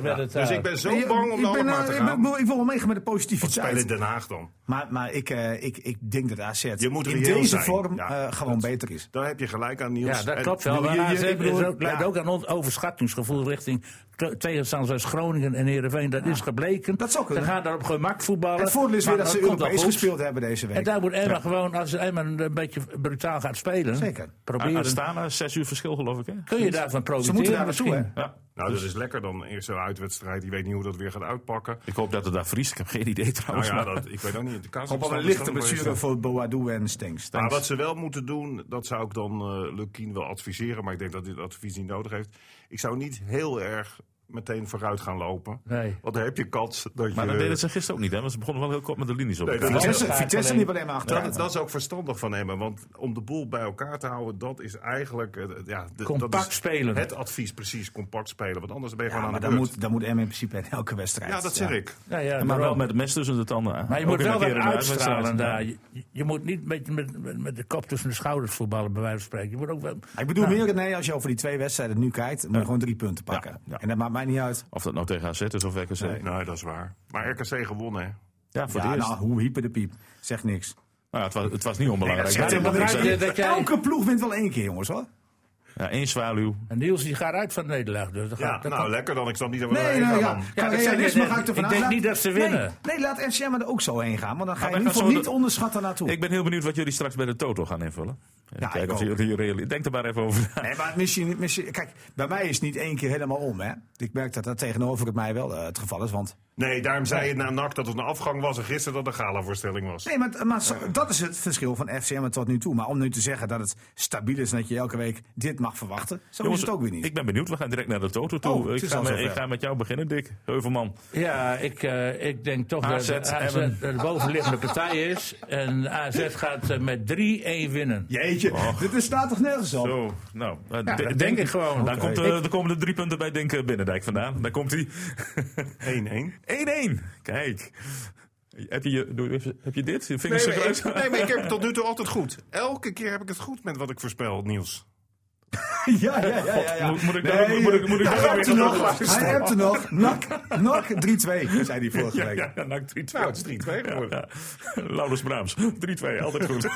D: werd het.
E: Dus
D: eh,
E: ik ben
C: Maar
E: zo
C: je-
E: bang om de
C: ik ben,
E: hand maar
C: eh,
E: te
C: ik,
E: gaan.
C: ben, ik wil wel meegaan met de
E: Spelen in
C: positiviteit.
E: Den Haag dan.
C: Maar, maar ik, eh, ik, ik denk dat AZ
E: Je moet
C: in
E: reëel
C: deze
E: zijn.
C: vorm
E: Ja,
C: eh, gewoon beter is.
E: Daar heb je gelijk aan Niels.
D: Ja, dat
E: En
D: klopt wel.
C: Dus bedoel,
D: Maar
C: je- je-
D: AZ
C: ik bedoel,
D: is ook- leidt
C: ja.
D: ook aan ons overschattingsgevoel richting te- tegenstanders als Groningen en Heerenveen. Dat is gebleken.
C: Dat zou kunnen.
D: Ze gaan daar op gemak voetballen.
C: Het voordeel is
D: Maar
C: weer dat ze
D: komt wel
C: Europees
D: goed.
C: gespeeld hebben deze
D: En
C: week.
D: daar moet Emma gewoon, als Emma een beetje brutaal gaat spelen,
C: Zeker.
D: proberen.
B: Astana, 6 uur verschil geloof ik hè?
D: kun je daarvan profiteren?
C: moeten daar naartoe,
D: misschien?
C: hè?
B: Ja.
E: Nou, dat is lekker dan. Eerst zo'n uitwedstrijd. Je weet niet hoe dat weer gaat uitpakken.
B: Ik hoop dat het daar vriest. Ik heb geen idee
E: Nou
B: trouwens.
E: ja,
B: maar-
E: dat, ik weet ook niet. De kaas
C: Op een lichte blessure voor Boadu en Stengs.
E: Maar wat ze wel moeten doen, dat zou ik dan eh Lukien wel adviseren. Maar ik denk dat dit advies niet nodig heeft. Ik zou niet heel erg meteen vooruit gaan lopen.
D: Nee.
E: Want dan heb je kans dat
B: Maar
E: je...
C: Eh,
B: dat deden ze gisteren ook niet hè? Want ze begonnen wel heel kort met de linies op
E: Nee,
B: elkaar.
E: dat is-
C: Vitesse,
D: Ja.
C: Vitesse liep alleen maar achteruit.
E: Dat, dat is ook verstandig van Emmen, want om de boel bij elkaar te houden, dat is eigenlijk eh, ja, de- dat
D: Compact
E: is
D: spelen.
E: Het advies precies, compact spelen, want anders ben je
C: Ja,
E: gewoon
C: maar
E: aan de
C: dan
E: beurt.
C: moet, dan moet M in principe in elke wedstrijd.
E: ja, dat zeg ik.
D: Ja, ja,
B: Maar wel
D: daarom.
B: met het mes tussen de tanden.
D: Maar je
B: Ook
D: moet
B: in
D: wel
B: een
D: wat
B: keer in een
D: uitstralen
B: uitwedstrijd.
D: daar. Je, je moet niet met, met, met- met de kop tussen de schouders voetballen, bij wijze van spreken. Je moet ook wel...
C: Ik bedoel
D: Nou,
C: meer, nee, als je over die twee wedstrijden nu kijkt, dan moet je gewoon drie punten pakken.
B: Ja, ja.
C: En dat maakt mij niet uit.
B: Of dat nou tegen AZ is of RKC.
E: Nee, dat is waar. Maar RKC gewonnen, hè?
B: Ja, voor
C: Ja,
B: het eerst.
C: nou, hoe hyper de piep. Zegt niks.
B: Nou ja, het, was, het was niet onbelangrijk.
D: Nee, dat
B: Ja,
D: zegt
B: ik
D: helemaal
B: zeg-
D: niks. dat jij-
C: Elke ploeg wint wel één keer, jongens hoor.
B: Ja, één zwaluw.
D: En Niels die gaat uit van Nederland. Dus dat
E: Ja,
D: gaat, dat
E: nou
D: kan-
E: lekker dan. Ik snap niet dat we
C: Nee,
E: erheen
C: nou
E: gaan
C: ja.
E: dan.
C: Qua
D: Ja, dat zei
C: realisme
D: ik net.
C: ga ik ervan
D: Ik
C: uit.
D: denk
C: Laat-
D: niet dat ze
C: Nee,
D: winnen.
C: Nee, laat FCM er ook zo heen gaan. Want dan ga je
B: wij
C: in
B: gaan
C: ieder geval
B: zo
C: niet
B: de-
C: onderschatten naartoe.
B: Ik ben heel benieuwd wat jullie straks bij de Toto gaan invullen. Even
C: Ja, ik
B: kijken of
C: ook.
B: jullie reali- Denk er maar even over na.
C: Nee, maar misschien, misschien, kijk, bij mij is het niet één keer helemaal om. Hè? Ik merk dat dat tegenover het mij wel eh, het geval is. Want
E: Nee, daarom zei je na NAC dat het een afgang was en gisteren dat een galavoorstelling was.
C: Nee, maar, maar zo- dat is het verschil van FCM tot nu toe. Maar om nu te zeggen dat het stabiel is en dat je elke week dit mag verwachten, zo
B: Jongens,
C: is het ook weer niet.
B: Ik ben benieuwd, we gaan direct naar de Toto toe.
C: Oh, het
B: ik,
C: is
B: ga
C: al
B: met,
C: zover.
B: ik ga met jou beginnen, Dick Heuvelman.
D: Ja, ik, eh, ik denk toch
B: AZ
D: dat de AZ
B: Emmen.
D: de bovenliggende partij is. En AZ gaat eh, met 3-1 winnen.
C: Jeetje, dit is- staat toch nergens op?
B: Zo, nou, eh, de-
D: dat
B: denk,
D: denk
B: ik
D: ik
B: gewoon.
D: gewoon.
B: Daar
D: Oké.
B: komt, eh, er komen de drie punten bij Dink eh, Binnendijk vandaan. Daar komt hij.
E: 1-1.
B: 1-1. Kijk. Heb je, je- doe even- heb je dit? Je vingers
E: Nee,
B: nee,
E: maar Dus ik, nee, maar ik heb het tot nu toe altijd goed. Elke keer heb ik het goed met wat ik voorspel, Niels.
C: Ja, ja, ja. ja, ja.
B: Moet- moet ik
C: Nee,
B: daar ook- moet ik- moet ik
C: hij
B: daar ook
C: hebt
B: weer
C: er
B: op
C: nog. Hij hebt er nog. Nak, nak 3-2, zei hij vorige
B: Ja,
C: week.
B: ja, ja, NAC 3-2.
E: Nou, het is 3-2 geworden.
B: Ja. Laurens Braams, 3-2, altijd goed.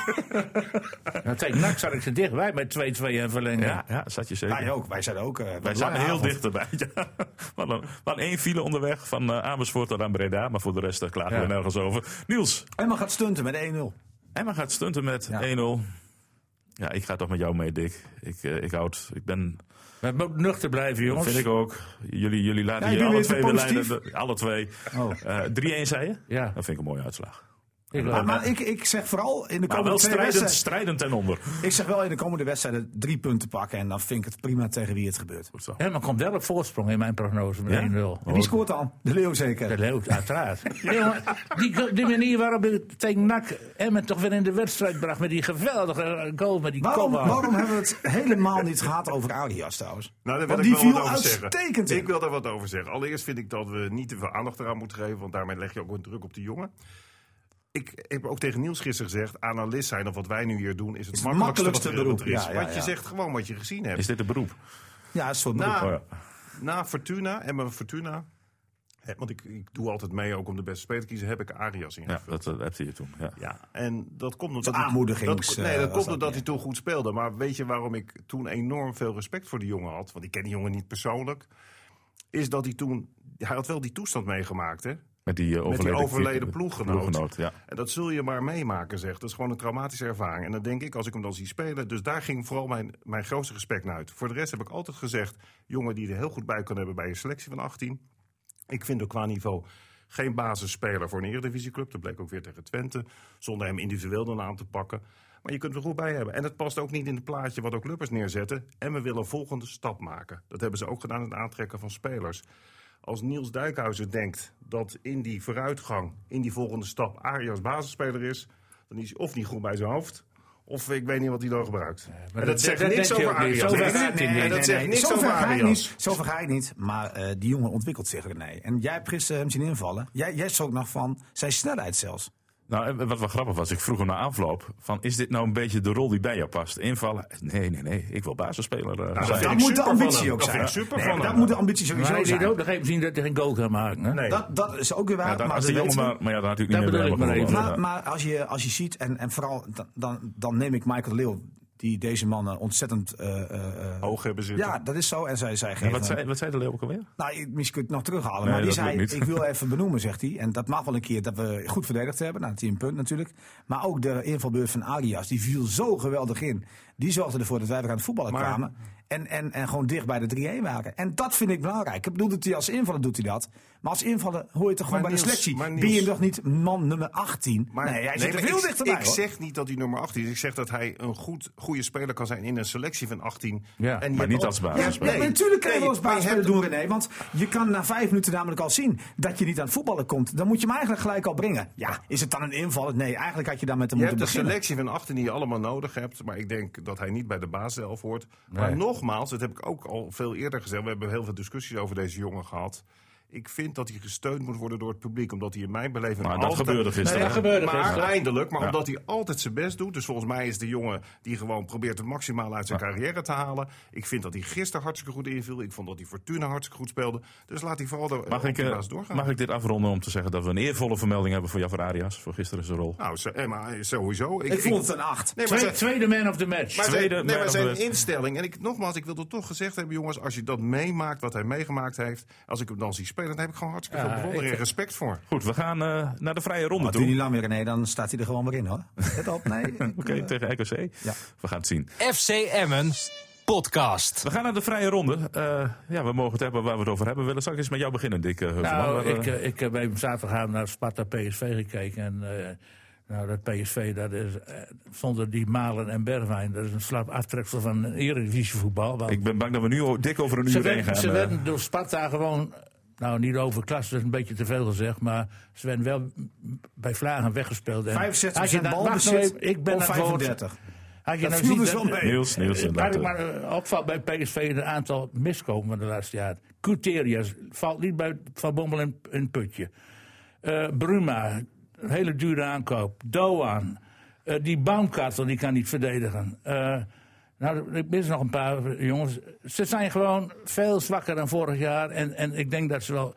D: Nou, tegen NAC zat ik ze dichtbij met 2-2 en verlengen.
B: ja, ja, zat je zeker.
C: Wij ook, wij zijn ook. eh,
B: Nou, Wij
C: lange
B: zaten heel
C: avond.
B: dichterbij. Ja. We hadden- we hadden één file onderweg van eh, Amersfoort tot aan Breda. Maar voor de rest eh, klagen we
D: Ja.
B: nergens over. Niels,
C: Emma gaat stunten met 1-0.
B: Emma gaat stunten met
C: Ja.
B: 1-0. Ja, ik ga toch met jou mee, Dick. Ik, eh, ik houd. Ik ben.
D: Maar het moet nuchter blijven,
B: Dat
D: jongens.
B: vind ik ook. Jullie, jullie laten
C: Ja,
B: hier
C: jullie
B: alle
C: is te
B: twee de
C: positief.
B: lijnen. de- alle twee.
C: Oh.
B: Eh, 3-1 zei je?
D: Ja.
B: Dat vind ik een mooie uitslag.
D: Ik
C: Maar,
D: geloof
C: maar ik, ik zeg vooral in
B: Maar
C: de
B: wel
C: komende twee
B: strijdend,
C: wedstrijden.
B: strijdend en onder.
C: Ik zeg wel in de komende wedstrijden drie punten pakken. En dan vind ik het prima tegen wie het gebeurt.
B: Goed zo.
D: Ja, maar komt wel op voorsprong in mijn prognose met
B: Ja?
D: 1-0.
C: En wie scoort dan? De Leeuw zeker.
D: De Leeuw, uiteraard. Nee, maar die, die manier waarop ik tegen NAC Emmen toch weer in de wedstrijd bracht... met die geweldige eh, goal, met die
C: Waarom,
D: kopbal.
C: waarom hebben we het helemaal niet gehad over Arias trouwens?
E: Nou, daar wil
C: Want
E: ik
C: die
E: wel
C: viel
E: wat over zeggen.
C: uitstekend in.
E: Ik wil daar wat over zeggen. Allereerst vind ik dat we niet te veel aandacht eraan moeten geven, want daarmee leg je ook een druk op de jongen. Ik heb ook tegen Niels gisteren gezegd: analist zijn of wat wij nu hier doen, is het,
C: Is het
E: makkelijkste,
C: makkelijkste
E: wat er is.
C: beroep. Ja, ja,
E: want je
C: ja.
E: zegt gewoon wat je gezien hebt.
B: Is dit een beroep?
C: Ja, een soort beroep.
E: na,
B: Oh
E: na Fortuna en mijn Fortuna. hè, Want ik, ik doe altijd mee ook om de beste speler te kiezen. Heb ik Arias ingevuld.
B: Ja, dat eh, heb je hier toen. Ja.
E: Ja, en dat komt omdat,
C: Zo'n
E: hij-
C: aanmoedigings,
E: dat-
C: eh,
E: nee, dat
C: was
E: komt
C: dat,
E: omdat
C: ja.
E: hij toen goed speelde. Maar weet je waarom ik toen enorm veel respect voor die jongen had? Want ik ken die jongen niet persoonlijk. Is dat hij toen. Hij had wel die toestand meegemaakt, hè?
B: Met die eh,
E: Met
B: overleden,
E: die overleden
B: die-
E: ploeggenoot.
B: ja.
E: En dat zul je maar meemaken, zegt. Dat is gewoon een traumatische ervaring. En dat denk ik als ik hem dan zie spelen. Dus daar ging vooral mijn, mijn grootste respect naar uit. Voor de rest heb ik altijd gezegd: jongen die er heel goed bij kan hebben bij een selectie van 18. Ik vind ook qua niveau geen basisspeler voor een eredivisieclub. Dat bleek ook weer tegen Twente. Zonder hem individueel dan aan te pakken. Maar je kunt er goed bij hebben. En dat past ook niet in het plaatje wat ook clubbers neerzetten. En we willen een volgende stap maken. Dat hebben ze ook gedaan in het aantrekken van spelers. Als Niels Dijkhuizen denkt dat in die vooruitgang, in die volgende stap, Arias basisspeler is, dan is hij of niet goed bij zijn hoofd, of ik weet niet wat hij dan gebruikt. en dat
D: dat-
E: zegt
D: dat
E: niks
D: denk je
E: over
D: ook niet.
E: Arias.
D: Zo
E: Nee,
D: ver gaat hij
E: en
D: niet.
E: dat zegt niks
C: Zover
E: over
C: ga ik
E: Arias.
C: niet. Zover ga ik niet. Maar eh, die jongen ontwikkelt zich, René. En jij hebt gisteren hem zien invallen. Jij, jij schrok nog van zijn snelheid zelfs.
B: Nou, en wat wel grappig was, ik vroeg hem na afloop: van, is dit nou een beetje de rol die bij jou past? Invallen? Nee, nee, nee. Ik wil basisspeler eh, zijn.
E: vind
C: Dat
E: ik
C: moet de
E: super van
C: ambitie
E: hem.
C: ook
E: Dat
C: zijn.
E: vind ik super
C: Nee,
E: van
C: maar
E: hem.
C: dat moet de ambitie
D: Maar
C: sowieso
D: hij liet
C: zijn.
D: ook nog even zien dat hij geen goal kan maken. Hè?
E: Nee.
C: Dat, dat is ook weer waar.
B: Ja, dan-
C: maar
B: als
C: we
B: die jongen
C: weten-
B: maar, maar ja, dan had
D: Dat
B: natuurlijk niet
D: bedoel ik maar even.
B: helemaal
C: Maar, maar als, je, als je ziet, en, en vooral dan, dan, dan neem ik Michael Leeuw, die deze man eh, ontzettend. eh, eh, eh,
E: Hoog hebben zitten.
C: ja, dat is zo. En zij, zij geven.
B: En wat zei, wat zei de leeuw ook alweer?
C: Nou, ik- misschien kun je het nog terughalen.
B: Nee,
C: maar die
B: dat
C: zei:
B: lukt niet.
C: Ik wil even benoemen, zegt hij. En dat mag wel een keer dat we goed verdedigd hebben. Nou, 10 punt natuurlijk. Maar ook de invalbeurt van Arias, die viel zo geweldig in. Die zorgde ervoor dat wij weer aan het voetballen
E: Maar-
C: kwamen. En, en, en gewoon dicht bij de 3-1 waren. En dat vind ik belangrijk. Ik bedoel dat hij als invaller doet hij dat. Maar als invaller hoor je toch gewoon
E: Maar
C: bij de
E: Niels,
C: selectie.
E: maar
C: Ben
E: Niels.
C: je toch niet man nummer 18? nee, hij zit
E: maar
C: er heel
E: ik,
C: dichterbij.
E: Ik
C: hoor.
E: zeg niet dat hij nummer 18 is. Ik zeg dat hij een goed, goede speler kan zijn in een selectie van 18.
D: Ja,
E: En die
B: maar
E: hebt
B: niet
E: al-
B: als
C: Ja,
B: basisspeler.
C: ja, maar natuurlijk kan je
E: nee,
C: wel eens
E: maar je
C: basisspeler
E: hebt-
C: doen, René. Want je kan na vijf minuten namelijk al zien dat je niet aan het voetballen komt. Dan moet je hem eigenlijk gelijk al brengen. Ja, is het dan een inval? Nee, eigenlijk had je daar met hem
E: Je
C: moeten
E: hebt dus een
C: beginnen.
E: selectie van 18 die je allemaal nodig hebt. Maar ik denk dat hij niet bij de baas zelf hoort. Maar nogmaals, dat heb ik ook al veel eerder gezegd. We hebben heel veel discussies over deze jongen gehad. Ik vind dat hij gesteund moet worden door het publiek. Omdat hij in mijn beleving
B: Maar dat
E: altijd...
B: gebeurde gisteren.
D: Nee, dat gebeurde
E: maar
D: gisteren.
E: eindelijk, maar
B: Ja.
E: omdat hij altijd zijn best doet. Dus volgens mij is de jongen die gewoon probeert het maximaal uit zijn carrière te halen. Ik vind dat hij gisteren hartstikke goed inviel. Ik vond dat hij Fortuna hartstikke goed speelde. Dus laat hij vooral de,
B: Mag ik,
E: de
B: eh,
E: baas doorgaan.
B: mag ik dit afronden om te zeggen dat we een eervolle vermelding hebben voor Jaffer Arias? Voor gisteren zijn rol.
E: Nou, zo- eh, maar sowieso.
C: Ik vond het een acht.
E: Nee, maar
D: Twee-
E: ze-
D: tweede man of the match.
E: Maar
B: Tweede man
E: zijn, nee, maar
B: of
E: zijn
B: the rest.
E: instelling. En ik, nogmaals, ik wil het toch gezegd hebben, jongens. Als je dat meemaakt, wat hij meegemaakt heeft. Als ik hem dan zie spelen, dan heb ik gewoon hartstikke veel bewondering en respect voor.
B: Goed, we gaan eh, naar de vrije ronde
C: Maar doe
B: toe.
C: niet lang meer, nou René. Dan staat hij er gewoon weer in, hoor. Let op, nee.
B: Oké, tegen RKC.
C: Ja.
B: We gaan het zien.
A: FC Emmen podcast.
B: We gaan naar de vrije ronde. Eh, ja, we mogen het hebben waar we het over hebben willen. Zal ik eens met jou beginnen, Dick eh, Heuvelman?
D: Nou,
B: Waar, eh,
D: ik, eh, ik heb even zaterdagavond naar Sparta PSV gekeken. En eh, nou, dat PSV, dat is eh, zonder die Malen en Berwijn, dat is een slap aftreksel van Eredivisie voetbal. Want
B: ik ben bang dat we nu al dik over een
D: eh, ze
B: uur heen
D: werden,
B: gaan.
D: ze
B: eh.
D: werden door Sparta gewoon, nou niet overklast, dat is een beetje te veel gezegd, maar ze werden wel bij Vlagen weggespeeld. En als je
C: 65%
D: dat- wacht nou
C: balbezit
D: even, ik ben
C: op
D: aan het woord.
C: 35.
D: Had je
C: Dat
D: nou
C: viel
D: ziet
C: dus wel mee.
B: Niels, Niels,
D: eh,
B: inderdaad,
D: Waar ik maar eh, opvalt bij PSV een aantal miskomen van de laatste jaar. Couterius valt niet bij Van Bommel in in het putje. Eh, Bruma, een hele dure aankoop. Doan. Eh, die Baumkartel, die kan niet verdedigen. Eh, nou, ik mis nog een paar eh, jongens. Ze zijn gewoon veel zwakker dan vorig jaar. En, en ik denk dat ze wel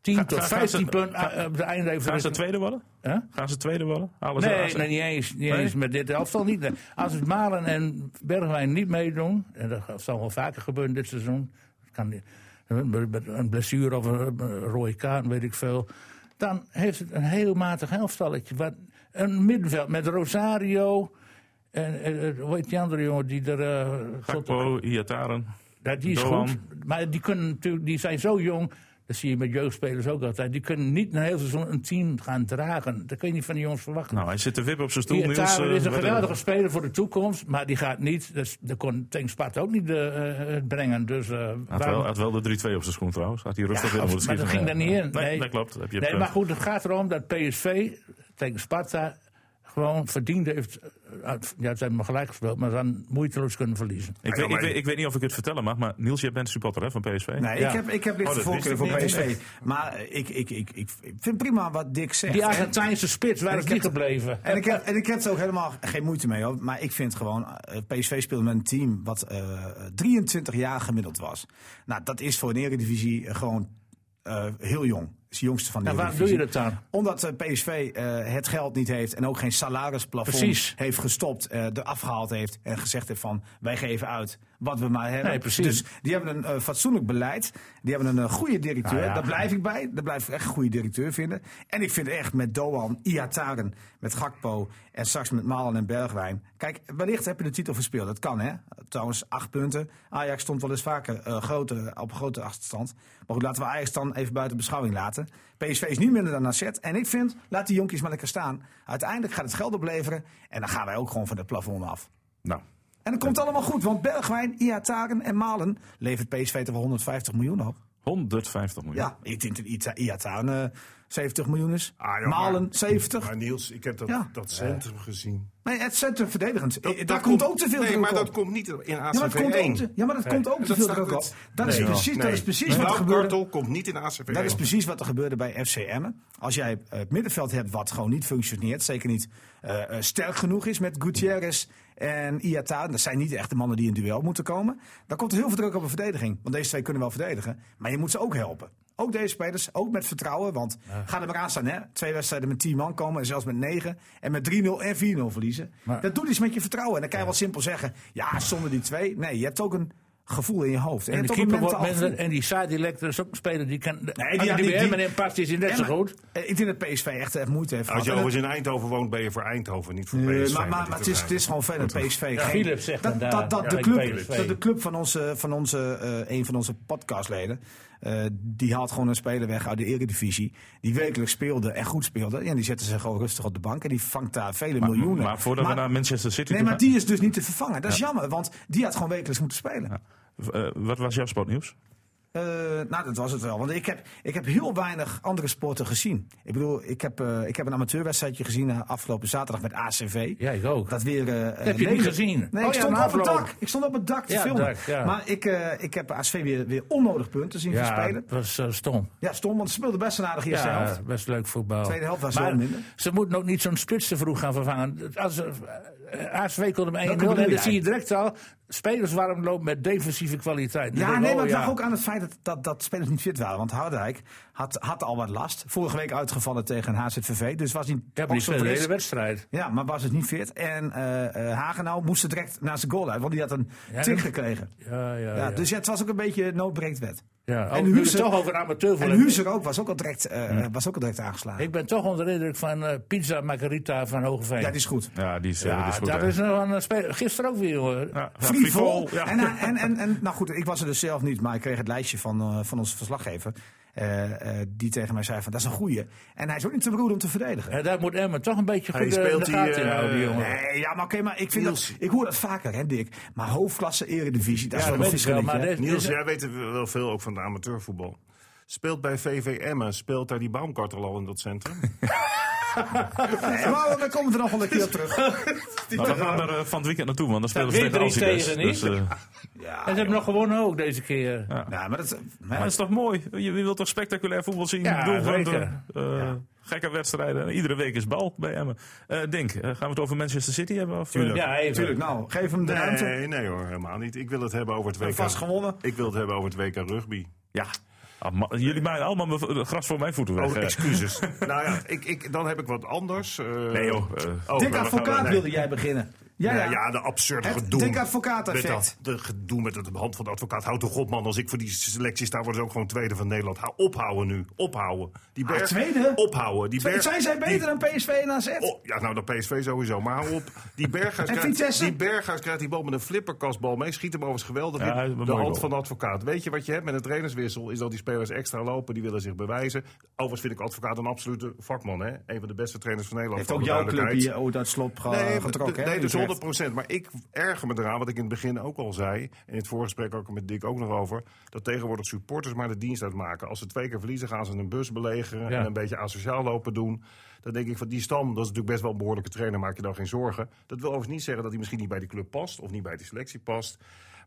D: 10
B: Ga-
D: tot
B: ga- gaan
D: 15
B: ze-
D: punten
B: ga-
D: eh, op het einde even...
B: Gaan ze tweede worden?
D: Huh?
B: Gaan ze tweede worden? Alles
D: Nee,
B: alles-
D: nee, niet eens. Niet
B: Nee?
D: eens met dit elftal niet. Als het Malen en Bergwijn niet meedoen, en dat zal wel vaker gebeuren dit seizoen, het kan niet- met- met een blessure of een een rode kaart, weet ik veel, dan heeft het een heel matig elftalletje. Wat, een middenveld met Rosario en eh, hoe heet die andere jongen die er... eh, God-
B: Gakpo, Iataren.
D: ja, die is
B: Doan.
D: goed. Maar die, kunnen natuurlijk, die zijn zo jong. Dat zie je met jeugdspelers ook altijd. Die kunnen niet een heel seizoen een team gaan dragen. Dat kun je niet van die jongens verwachten.
B: Nou, hij zit te wippen op zijn stoel.
D: Die
B: Niels,
D: Tamer
B: eh,
D: is een
B: wat-
D: geweldige speler voor de toekomst, maar die gaat niet. Dus dat kon Teng Sparta ook niet eh, eh, brengen. Dus, eh,
B: Had
D: waarom-
B: wel, had wel de 3-2 op zijn schoen trouwens. Had hij rustig
D: ja,
B: binnen
D: maar
B: moeten
D: dat
B: schieten.
D: ging er niet in.
B: Nee,
D: Nee,
B: dat klopt. Heb je
D: nee,
B: het,
D: maar
B: eh,
D: goed, het gaat erom dat PSV tegen Sparta gewoon verdiend heeft. eh, uit- Ja, ze hebben me gelijk gespeeld, maar dan moeiteloos kunnen verliezen.
B: Ik weet, ik, weet, ik weet niet of ik het vertellen mag, maar Niels, jij bent supporter hè, van PSV.
C: Nee,
D: Ja.
C: ik heb, ik heb lichte
B: Oh, dat wist
C: voorkeur
B: ik
C: voor
B: niet.
C: PSV. Maar ik, ik, ik, ik vind prima wat Dick zegt.
D: Die
C: En-
D: Argentijnse spits, waar
C: en
D: is
C: ik
D: die
C: heb-
D: gebleven?
C: En ik, heb, en ik heb er ook helemaal geen moeite mee. Hoor. Maar ik vind gewoon, eh, PSV speelt met een team wat eh, 23 jaar gemiddeld was. Nou, dat is voor een eredivisie gewoon eh, heel jong. Dat is de jongste van de
D: En waarom doe
C: Eredivisie.
D: je dat dan?
C: Omdat eh, PSV eh, het geld niet heeft en ook geen salarisplafond
D: Precies.
C: heeft gestopt, eh eraf gehaald heeft en gezegd heeft van wij geven uit wat we maar hebben.
D: Nee, precies.
C: Dus die hebben een eh, fatsoenlijk beleid, die hebben een eh, goede directeur,
D: Nou ja.
C: daar blijf ik bij, daar blijf ik echt een goede directeur vinden. En ik vind echt met Doan, Iataren, met Gakpo en straks met Malen en Bergwijn. Kijk, wellicht heb je de titel verspeeld, dat kan hè. Trouwens, acht punten. Ajax stond wel eens vaker eh, grote, op grote achterstand. Maar goed, laten we Ajax dan even buiten beschouwing laten. PSV is niet minder dan AZ. En ik vind, laat die jonkies maar lekker staan. Uiteindelijk gaat het geld opleveren. En dan gaan wij ook gewoon van het plafond af.
B: Nou,
C: En het komt allemaal goed, want Bergwijn, Iataren en Malen levert PSV toch wel 150 miljoen op.
B: 150 miljoen.
C: Ja, ik denk dat Ita- Iataren eh, 70 miljoen is.
E: Ah, joh,
C: Malen
E: maar-
C: 70.
E: Maar Niels, ik heb dat,
C: Ja.
E: dat centrum gezien.
C: Nee, het centrum verdedigend. Eh,
E: Dat-
C: Daar
E: dat
C: komt ook te veel
E: Eh, Nee,
C: druk
E: maar
C: op.
E: dat komt niet in
C: ja, maar dat komt ook
E: ACV1.
C: te, ja, maar dat komt ook te
E: dat
C: veel
E: staat
C: druk op.
E: het-
C: Dat is
B: Nee,
C: precies, dat
E: Nee.
C: is precies
E: Nee.
C: wat er gebeurde.
E: Blauwkartel komt niet in ACV1.
C: Dat is precies wat er gebeurde bij FC Emmen. Als jij eh, het middenveld hebt wat gewoon niet functioneert, zeker niet eh, eh, sterk genoeg is met Gutierrez en Iata, dat zijn niet echt de mannen die in duel moeten komen, dan komt er heel veel druk op de verdediging. Want deze twee kunnen wel verdedigen, maar je moet ze ook helpen. Ook deze spelers, ook met vertrouwen, want ga er maar aan staan. Hè? Twee wedstrijden met 10 man komen en zelfs met 9 en met 3-0 en 4-0 verliezen.
D: Maar-
C: dat doet iets met je vertrouwen. En dan kan je wel simpel zeggen, ja, zonder die twee. Nee, je hebt ook een gevoel in je hoofd. je
D: En de
C: hebt ook
D: keeper
C: een
D: wordt
C: mentaal
D: minder.
C: gevoel.
D: En die Sadilek, dat is ook een speler die kan. Nee,
C: die had
D: die, die,
C: niet-
D: bij
C: die-
D: hem in past is hij net zo
C: Emmen-
D: goed.
C: Eh, Ik denk dat PSV echt eh, moeite heeft
E: Als
C: gehad.
E: je
C: En dat-
E: overigens in Eindhoven woont, ben je voor Eindhoven, niet voor
C: Nee,
E: PSV.
C: maar, maar,
E: met
C: maar het,
E: dit
C: is,
E: eruit.
C: het is gewoon verder PSV.
D: Ja, Philips zegt
C: dat,
D: dan
C: dat,
D: daar,
C: dat,
D: ja,
C: de
D: ik
C: club,
D: PSV.
C: dat de club van, onze, van onze, eh, een van onze podcastleden, eh, die haalt gewoon een speler weg uit de eredivisie. Die wekelijks speelde en goed speelde. En die zetten ze gewoon rustig op de bank. En die vangt daar vele
B: Maar,
C: miljoenen.
B: maar voordat
C: Maar-
B: we naar Manchester City
C: Nee,
B: toe
C: maar die is dus niet te vervangen. Dat is jammer, want die had gewoon wekelijks moeten spelen.
B: gaan- Eh, wat was jouw sportnieuws?
C: Eh, nou, dat was het wel. Want ik heb, ik heb heel weinig andere sporten gezien. Ik bedoel, ik heb, eh, ik heb een amateurwedstrijdje gezien eh, afgelopen zaterdag met ACV.
D: Ja, ik ook.
C: Dat weer. eh,
D: heb je
C: leeg-
D: niet gezien.
C: Nee,
D: Oh
C: ik
D: ja,
C: stond
D: na
C: op het
D: afloop.
C: dak. Ik stond op het dak te
D: Ja,
C: filmen.
D: dak, ja.
C: Maar ik, eh, ik heb ASV weer, weer onnodig punten zien
D: Ja,
C: verspelen.
D: dat was eh, stom.
C: Ja, stom, want ze speelden best een aardige eerste
D: Ja,
C: helft.
D: best leuk voetbal.
C: Tweede helft was
D: maar
C: wel minder.
D: Ze moeten ook niet zo'n spits te vroeg gaan vervangen. Als, eh, eh, ASV kon hem 1-0 en
C: bedoel
D: dan
C: jij?
D: zie je direct al spelers warm lopen met defensieve kwaliteit. Dan
C: Ja,
D: denk ik,
C: nee,
D: oh,
C: maar het
D: ja.
C: lag ook aan het feit dat, dat, dat spelers niet fit waren. Want Houdijk had, had al wat last. Vorige week uitgevallen tegen HZVV. Dus was niet
D: Ja, maar
C: ook
D: die
C: zo
D: speelde de
C: fris.
D: hele wedstrijd.
C: Ja, maar was het niet fit. En eh eh, Hagenau moest er direct naar zijn goal uit. Want die had een
D: Ja,
C: tik
D: dat-
C: gekregen.
D: Ja, ja,
C: Ja,
D: ja.
C: Dus ja, het was ook een beetje noodbreekt wet.
D: Ja, Oh,
C: En
D: en nu
C: Huzer-
D: toch over amateurvoetbal.
C: En Huzer ook, was ook al direct, eh, was ook al direct aangeslagen.
D: Ik ben toch onder de indruk van eh, Pizza Margarita van Hogeveen.
C: ja, die is goed.
B: Ja, die is, eh,
D: Ja,
B: die is goed.
D: dat
B: hè.
D: is nog een spe- Gisteren ook weer, hoor.
B: Ja, ja,
C: Free
B: frivol,
C: vol.
B: ja.
C: En, eh, en, en, en, nou goed, ik was er dus zelf niet, maar ik kreeg het lijstje van, eh, van onze verslaggever. eh, eh, die tegen mij zei van, dat is een goeie. En hij is ook niet te beroerd om te verdedigen.
D: En daar moet Emmen toch een beetje
E: Hij
D: goed eh, in
E: speelt
D: de
E: die,
D: gaten in
E: eh,
D: houden, die jongen.
C: Nee, ja, maar oké, maar ik, vind dat, ik hoor dat vaker, hè, Dick. Maar hoofdklasse, eredivisie, dat is
D: Ja,
C: wel
D: dat
C: een
D: weet ik wel,
C: verschilletje.
D: maar
C: hè.
D: dit-
E: Niels,
D: dit-
E: jij weet wel veel ook van de amateurvoetbal. Speelt bij VVM en speelt daar die Baumkartel al in dat centrum?
C: Nee, maar we komen er nog wel een keer op terug.
B: Nou, we gaan er eh, van het weekend naartoe, want dan spelen
H: Staat
B: ze
H: weer
B: tegen
H: drie
B: Alcides.
H: tegen,
B: Dus,
H: niet?
B: eh,
D: En ze hebben nog gewonnen ook deze keer.
C: Ja, nou, maar dat,
B: maar dat is toch mooi? Je, je wilt toch spectaculair voetbal zien?
D: Ja,
B: Doelpunten,
D: zeker.
B: eh, Gekke wedstrijden. Iedere week is bal bij Emmen. Eh, Denk, eh, gaan we het over Manchester City hebben? Of, eh,
D: Ja, even.
C: natuurlijk. Nou, geef hem de ruimte.
E: Nee, nee hoor, helemaal niet. Ik wil het hebben over het WK.
C: Vast gewonnen.
E: Ik wil het hebben over het WK rugby.
B: Ja. Ah, ma- jullie maaien allemaal mijn v- gras voor mijn voeten weg.
E: Oh,
B: eh.
E: excuses. nou ja, ik, ik, dan heb ik wat anders. eh,
B: Nee joh. eh,
C: Dick
E: oh, maar we gaan wel-
C: Advocaat
E: nee.
C: wilde jij beginnen. Ja,
E: Ja,
C: ja.
E: ja, de absurde
C: Het
E: gedoe.
C: dikke advocaat-effect.
E: Met dat- De gedoe met het hand van de advocaat. Houd toch op, man. Als ik voor die selectie sta, worden ze ook gewoon tweede van Nederland. Hou, ophouden nu. Ophouden. Die berg,
C: Ah, tweede?
E: Ophouden. Die berg,
C: Zijn zij beter dan PSV en AZ?
E: Oh, ja, nou, dat PSV sowieso. Maar hou op. Die Berghuis,
C: En
E: krijgt,
C: Vitesse?
E: die Berghuis krijgt die bal met een flipperkastbal mee. Schiet hem overigens geweldig
B: Ja,
E: in.
B: een
E: De
B: mooie
E: hand
B: bal.
E: van de advocaat. Weet je wat je hebt met een trainerswissel? Is dat die spelers extra lopen. Die willen zich bewijzen. Overigens vind ik advocaat een absolute vakman. Hè? Een van de beste trainers van Nederland.
C: Heeft
E: voor
C: ook
E: de
C: jouw eh, club
E: duidelijkheid.
C: hier ooit uit slop ge-
E: Nee,
C: eh, getrokken?
E: d-
C: hè,
E: nee, dus
C: Utrecht?
E: 100 Maar ik erger me eraan, wat ik in het begin ook al zei. En in het voorgesprek ook met Dick ook nog over. Dat tegenwoordig supporters maar de dienst uitmaken. Als ze twee keer verliezen, gaan ze een bus belegeren.
D: Ja.
E: En een beetje asociaal lopen doen. Dan denk ik van die Stam, dat is natuurlijk best wel een behoorlijke trainer. Maak je daar geen zorgen. Dat wil overigens niet zeggen dat hij misschien niet bij de club past. Of niet bij de selectie past.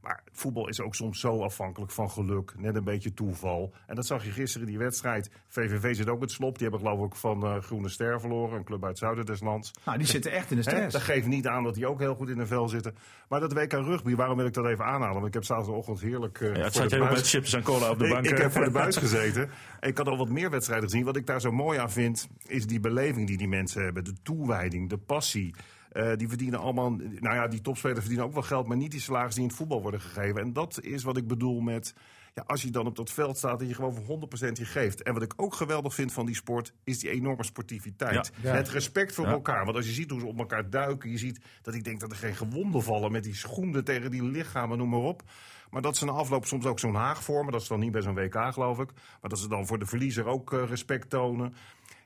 E: Maar voetbal is ook soms zo afhankelijk van geluk. Net een beetje toeval. En dat zag je gisteren in die wedstrijd. VVV zit ook met slop. Die hebben geloof ik van eh, Groene Ster verloren. Een club uit het zuiden des lands.
C: Nou, die zitten echt in de
E: Hè,
C: stress.
E: dat geeft niet aan dat die ook heel goed in de vel zitten. Maar dat WK rugby, waarom wil ik dat even aanhalen? Want ik heb zaterdagochtend heerlijk. eh
B: ja, het
E: voor
B: zat
E: de
B: jij ook
E: buis-
B: met chips en cola op de
E: Ik-
B: bank.
E: Ik,
B: eh.
E: heb voor de buis gezeten. En ik had al wat meer wedstrijden gezien. Wat ik daar zo mooi aan vind, is die beleving die die mensen hebben. De toewijding, de passie. Eh, die verdienen allemaal, nou ja, die topspelers verdienen ook wel geld, maar niet die salaris die in het voetbal worden gegeven. En dat is wat ik bedoel met, ja, als je dan op dat veld staat, dat je gewoon voor 100% je geeft. En wat ik ook geweldig vind van die sport, is die enorme sportiviteit.
B: Ja.
E: Het respect voor elkaar. Want als je ziet hoe ze op elkaar duiken, je ziet dat ik denk dat er geen gewonden vallen met die schoenen tegen die lichamen, noem maar op. Maar dat ze na afloop soms ook zo'n haag vormen. Dat is dan niet bij zo'n WK, geloof ik. Maar dat ze dan voor de verliezer ook eh, respect tonen.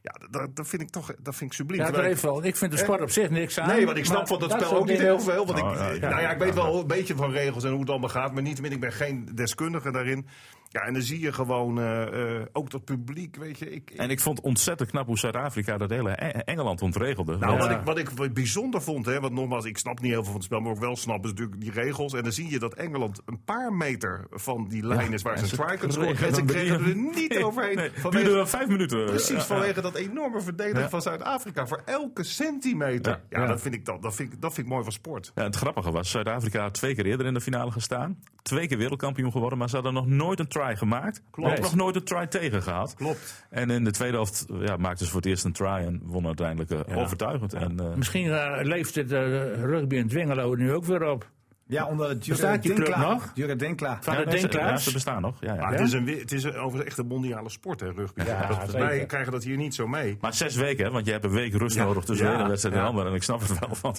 E: Ja, d- dat, dat vind ik toch dat vind ik subliem.
D: Ja,
E: Terwijl
D: er
E: ik-
D: heeft wel. Ik vind de sport op zich niks aan.
E: Nee, want ik snap
D: maar
E: van dat, spel
D: soort
E: ook niet
D: dingen-
E: heel veel. Want ik,
B: Oh, ja, ja.
E: nou ja, ik weet wel een beetje van regels en hoe het allemaal gaat. Maar niettemin, ik ben geen deskundige daarin. Ja, en dan zie je gewoon eh, eh, ook dat publiek, weet je. Ik,
B: En ik vond ontzettend knap hoe Zuid-Afrika dat hele E- Engeland ontregelde.
E: Nou,
B: Want-
E: wat, ik, wat ik wat bijzonder vond, hè, want nogmaals, ik snap niet heel veel van het spel, maar wat ik wel snap is natuurlijk die regels. En dan zie je dat Engeland een paar meter van die lijn is waar
B: en
E: ze een
B: ze
E: try kunnen scoren.
B: kregen
E: En ze
B: dan
E: kregen er
B: drie-
E: niet
B: Nee,
E: overheen.
B: nee, het
E: vanwege-
B: duurde wel vijf minuten. eh,
E: Precies,
B: Ja,
E: vanwege dat enorme verdedigen
B: Ja.
E: van Zuid-Afrika. Voor elke centimeter.
B: Ja.
E: Ja,
B: Ja.
E: Dat, vind ik dan, dat, vind ik, dat vind ik mooi van sport.
B: Ja, het grappige was, Zuid-Afrika had twee keer eerder in de finale gestaan. Twee keer wereldkampioen geworden, maar ze hadden nog nooit een try gemaakt. Klopt. Ook nog nooit een try tegengehaald.
E: Klopt.
B: En in de tweede helft eh, ja, maakten ze voor het eerst een try en wonnen uiteindelijk eh, overtuigend. En, eh,
D: Misschien eh, leeft het eh, rugby in Dwingelo nu ook weer op.
C: Ja, onder het
D: Bestaat die club nog?
C: Jurre Denkla.
D: Van
B: ja,
D: de
B: nee, ze- ja,
D: Denklaars.
B: ze bestaan nog. Ja, ja.
E: Maar het is, een, we- het is een- overigens echt een mondiale sport, hè, rugby.
D: Ja,
E: Dat- wij
D: zeker.
E: krijgen dat hier niet zo mee.
B: Maar zes weken, hè, want je hebt een week rust
E: Ja.
B: nodig tussen
E: Ja.
B: de ene wedstrijd en de
E: Ja.
B: andere. En ik snap het wel, want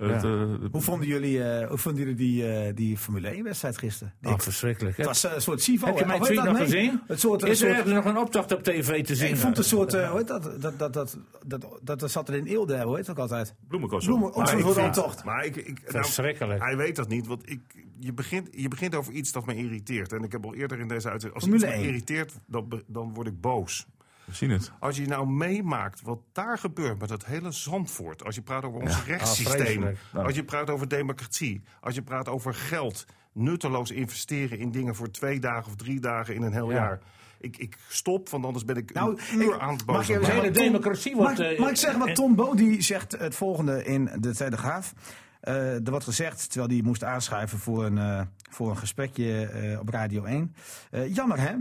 B: het, eh,
C: Hoe vonden jullie, eh, hoe vonden jullie die, eh, die Formule 1-wedstrijd gisteren?
D: Oh, verschrikkelijk.
C: Het was eh, een soort Sivo.
D: Heb je
C: hè?
D: mijn
C: Of heet
D: tweet
C: dat
D: nog
C: mee?
D: gezien?
C: Het soort, een
D: Is er
C: soort-
D: ergens nog een optocht op tv te zien?
C: ik vond een soort, eh, hoe heet dat, dat, dat, dat, dat, dat, dat zat er in Eelde, hoe heet dat ook altijd?
B: bloemenkoos.
C: Bloemen, oh, ook zo'n
E: ik
C: soort
E: vind-
C: optocht.
E: Maar ik, ik,
D: Verschrikkelijk.
E: Hij weet dat niet, want ik, je, begint, je begint over iets dat me irriteert. En ik heb al eerder in deze uitzending... Als
C: Formule
E: iets me
C: 1.
E: irriteert, dan, be- dan word ik boos.
B: We zien het.
E: Als je nou meemaakt wat daar gebeurt met dat hele Zandvoort. Als je praat over ons
D: Ah,
E: rechtssysteem.
D: vreselijk.
E: als je praat over democratie. Als je praat over geld. Nutteloos investeren in dingen voor twee dagen of drie dagen in een heel jaar. Ik, ik stop, want anders ben ik
C: Nou,
E: een uur
C: ik-
E: aan het
C: mag
E: boos.
C: ik even
E: op
D: De
E: mij.
D: hele
C: Maar Tom-
D: democratie wordt...
C: Mag,
D: eh,
C: mag ik zeggen wat Tom Bodie zegt? Het volgende in de Telegraaf. Eh er wordt gezegd, terwijl hij moest aanschuiven voor een, eh, voor een gesprekje eh, op Radio 1. Eh, jammer hè,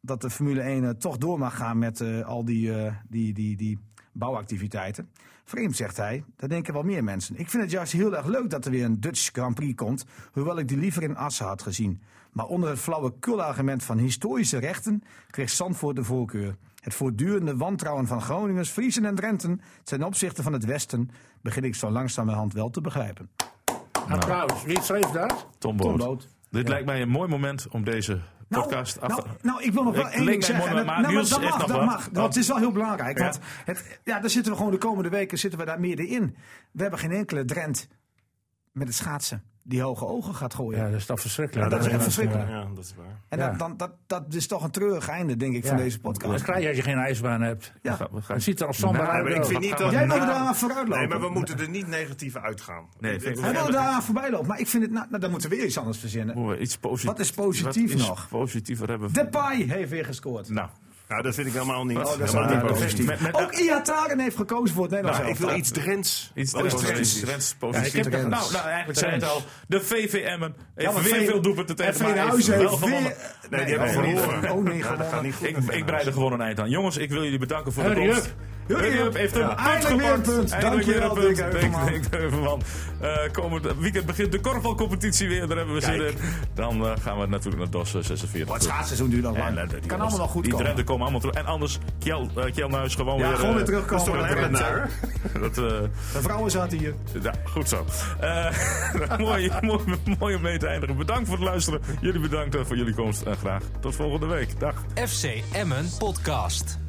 C: dat de Formule 1 eh, toch door mag gaan met eh, al die, eh, die, die, die bouwactiviteiten. Vreemd, zegt hij, daar denken wel meer mensen. Ik vind het juist heel erg leuk dat er weer een Dutch Grand Prix komt, hoewel ik die liever in Assen had gezien. Maar onder het flauwekul argument van historische rechten kreeg Zandvoort de voorkeur. Het voortdurende wantrouwen van Groningers, Friesen en Drenten ten opzichte van het Westen begin ik zo langzamerhand wel te begrijpen.
D: Nou. Applaus. Wie schreef dat?
B: Tom
C: Tom
B: Boot.
C: Boot.
B: Dit lijkt mij een mooi moment om deze podcast af
C: nou, nou, ik wil nog wel
B: Ik
C: één
B: leek
C: ding
B: mij
C: zeggen.
B: mooi,
C: En dat-
B: maar
C: nou, maar
B: Niels
C: dat
B: heeft
C: mag,
B: nog
C: dat
B: wat.
C: mag.
B: Oh.
C: Want het is wel heel belangrijk.
B: Ja.
C: Want het, ja, daar zitten we gewoon de komende weken zitten we daar midden in. We hebben geen enkele Drent met het schaatsen die hoge ogen gaat gooien.
D: Ja, dat is toch verschrikkelijk.
C: dat is echt
D: Ja.
C: verschrikkelijk.
E: Ja, dat is waar.
C: En
D: Ja.
C: dat, dan, dat, dat is toch een treurig einde, denk ik,
D: Ja.
C: van deze
D: Dat
C: podcast.
D: krijg je als je geen ijsbaan hebt.
C: Ja.
B: Ga- we gaan-
D: Het ziet er al somber
B: Nou,
E: Ja,
D: uit.
E: maar ik
D: ook.
E: vind niet dat
C: Jij nou wilde
E: na-
C: daar vooruitlopen.
E: Nee, maar we moeten er niet negatief uitgaan.
B: Nee, vind ik
C: Hij
B: ook.
C: wil daar voorbij lopen. Maar ik vind het, nou, nou, dan moeten we weer iets anders verzinnen.
B: Moeten we iets positief.
C: Wat is positief
B: wat is
C: nog?
B: Positiever hebben we.
C: Depay heeft weer gescoord. Oh,
B: Nou,
E: Nou, dat vind ik helemaal niet.
C: dat is
E: Helemaal
C: wel
E: niet
C: waar.
E: positief.
B: met, met,
C: Ook Iataren heeft gekozen voor het Nederlands
E: Nou, ik
C: elftal.
E: wil iets Drents.
B: Iets
E: Wel
B: Drents. Drents,
E: positiefs.
B: Drents, positief.
C: Ja, ik heb
B: nou,
C: Drents.
B: nou, eigenlijk zijn het al. De VVM'en heeft
C: maar
B: weer
C: Veen-
B: veel doelpunten
C: En
B: tegen. maar
C: Veenhuizen
B: heeft
C: heeft
B: wel gewonnen.
C: weer...
E: Nee, die hebben
C: nee,
E: verloren.
C: Oh nee,
E: Nou, dat
C: gewonnen.
E: gaat niet goed.
B: Ik, ik breid er gewoon een eind aan. Jongens, ik wil jullie bedanken voor
D: Hurry
B: de komst.
D: up.
B: Hurry up. Heeft een
C: Ja.
B: punt
C: Eindelijk weer
B: gepakt.
C: een punt.
B: Eindelijk weer
C: Dankjewel,
B: een
C: Dirk
B: punt.
C: Heuvelman.
B: Dank- Dirk Heuvelman. Eh, Komend weekend begint de korfbalcompetitie weer. Daar hebben we zin in. Dan eh, gaan we natuurlijk naar DOS 46.
C: Maar het schaatsseizoen duurt al
B: En,
C: lang.
B: eh, die
C: kan
B: jongens,
C: allemaal wel goed
B: Die
C: komen.
B: Drenthe komen allemaal terug. En anders, Kjell, eh, Kjell Nuis gewoon
C: Ja,
B: weer...
C: gewoon
B: eh,
C: weer terugkomen.
E: Dat is toch een
C: De
E: renner?
B: Dat, eh,
C: vrouwen zaten hier.
B: ja, goed zo. Eh, mooi, mooi, mooi om mee te eindigen. Bedankt voor het luisteren. Jullie bedankt eh, voor jullie komst. En graag tot volgende week. Dag.
A: FC Emmen Podcast.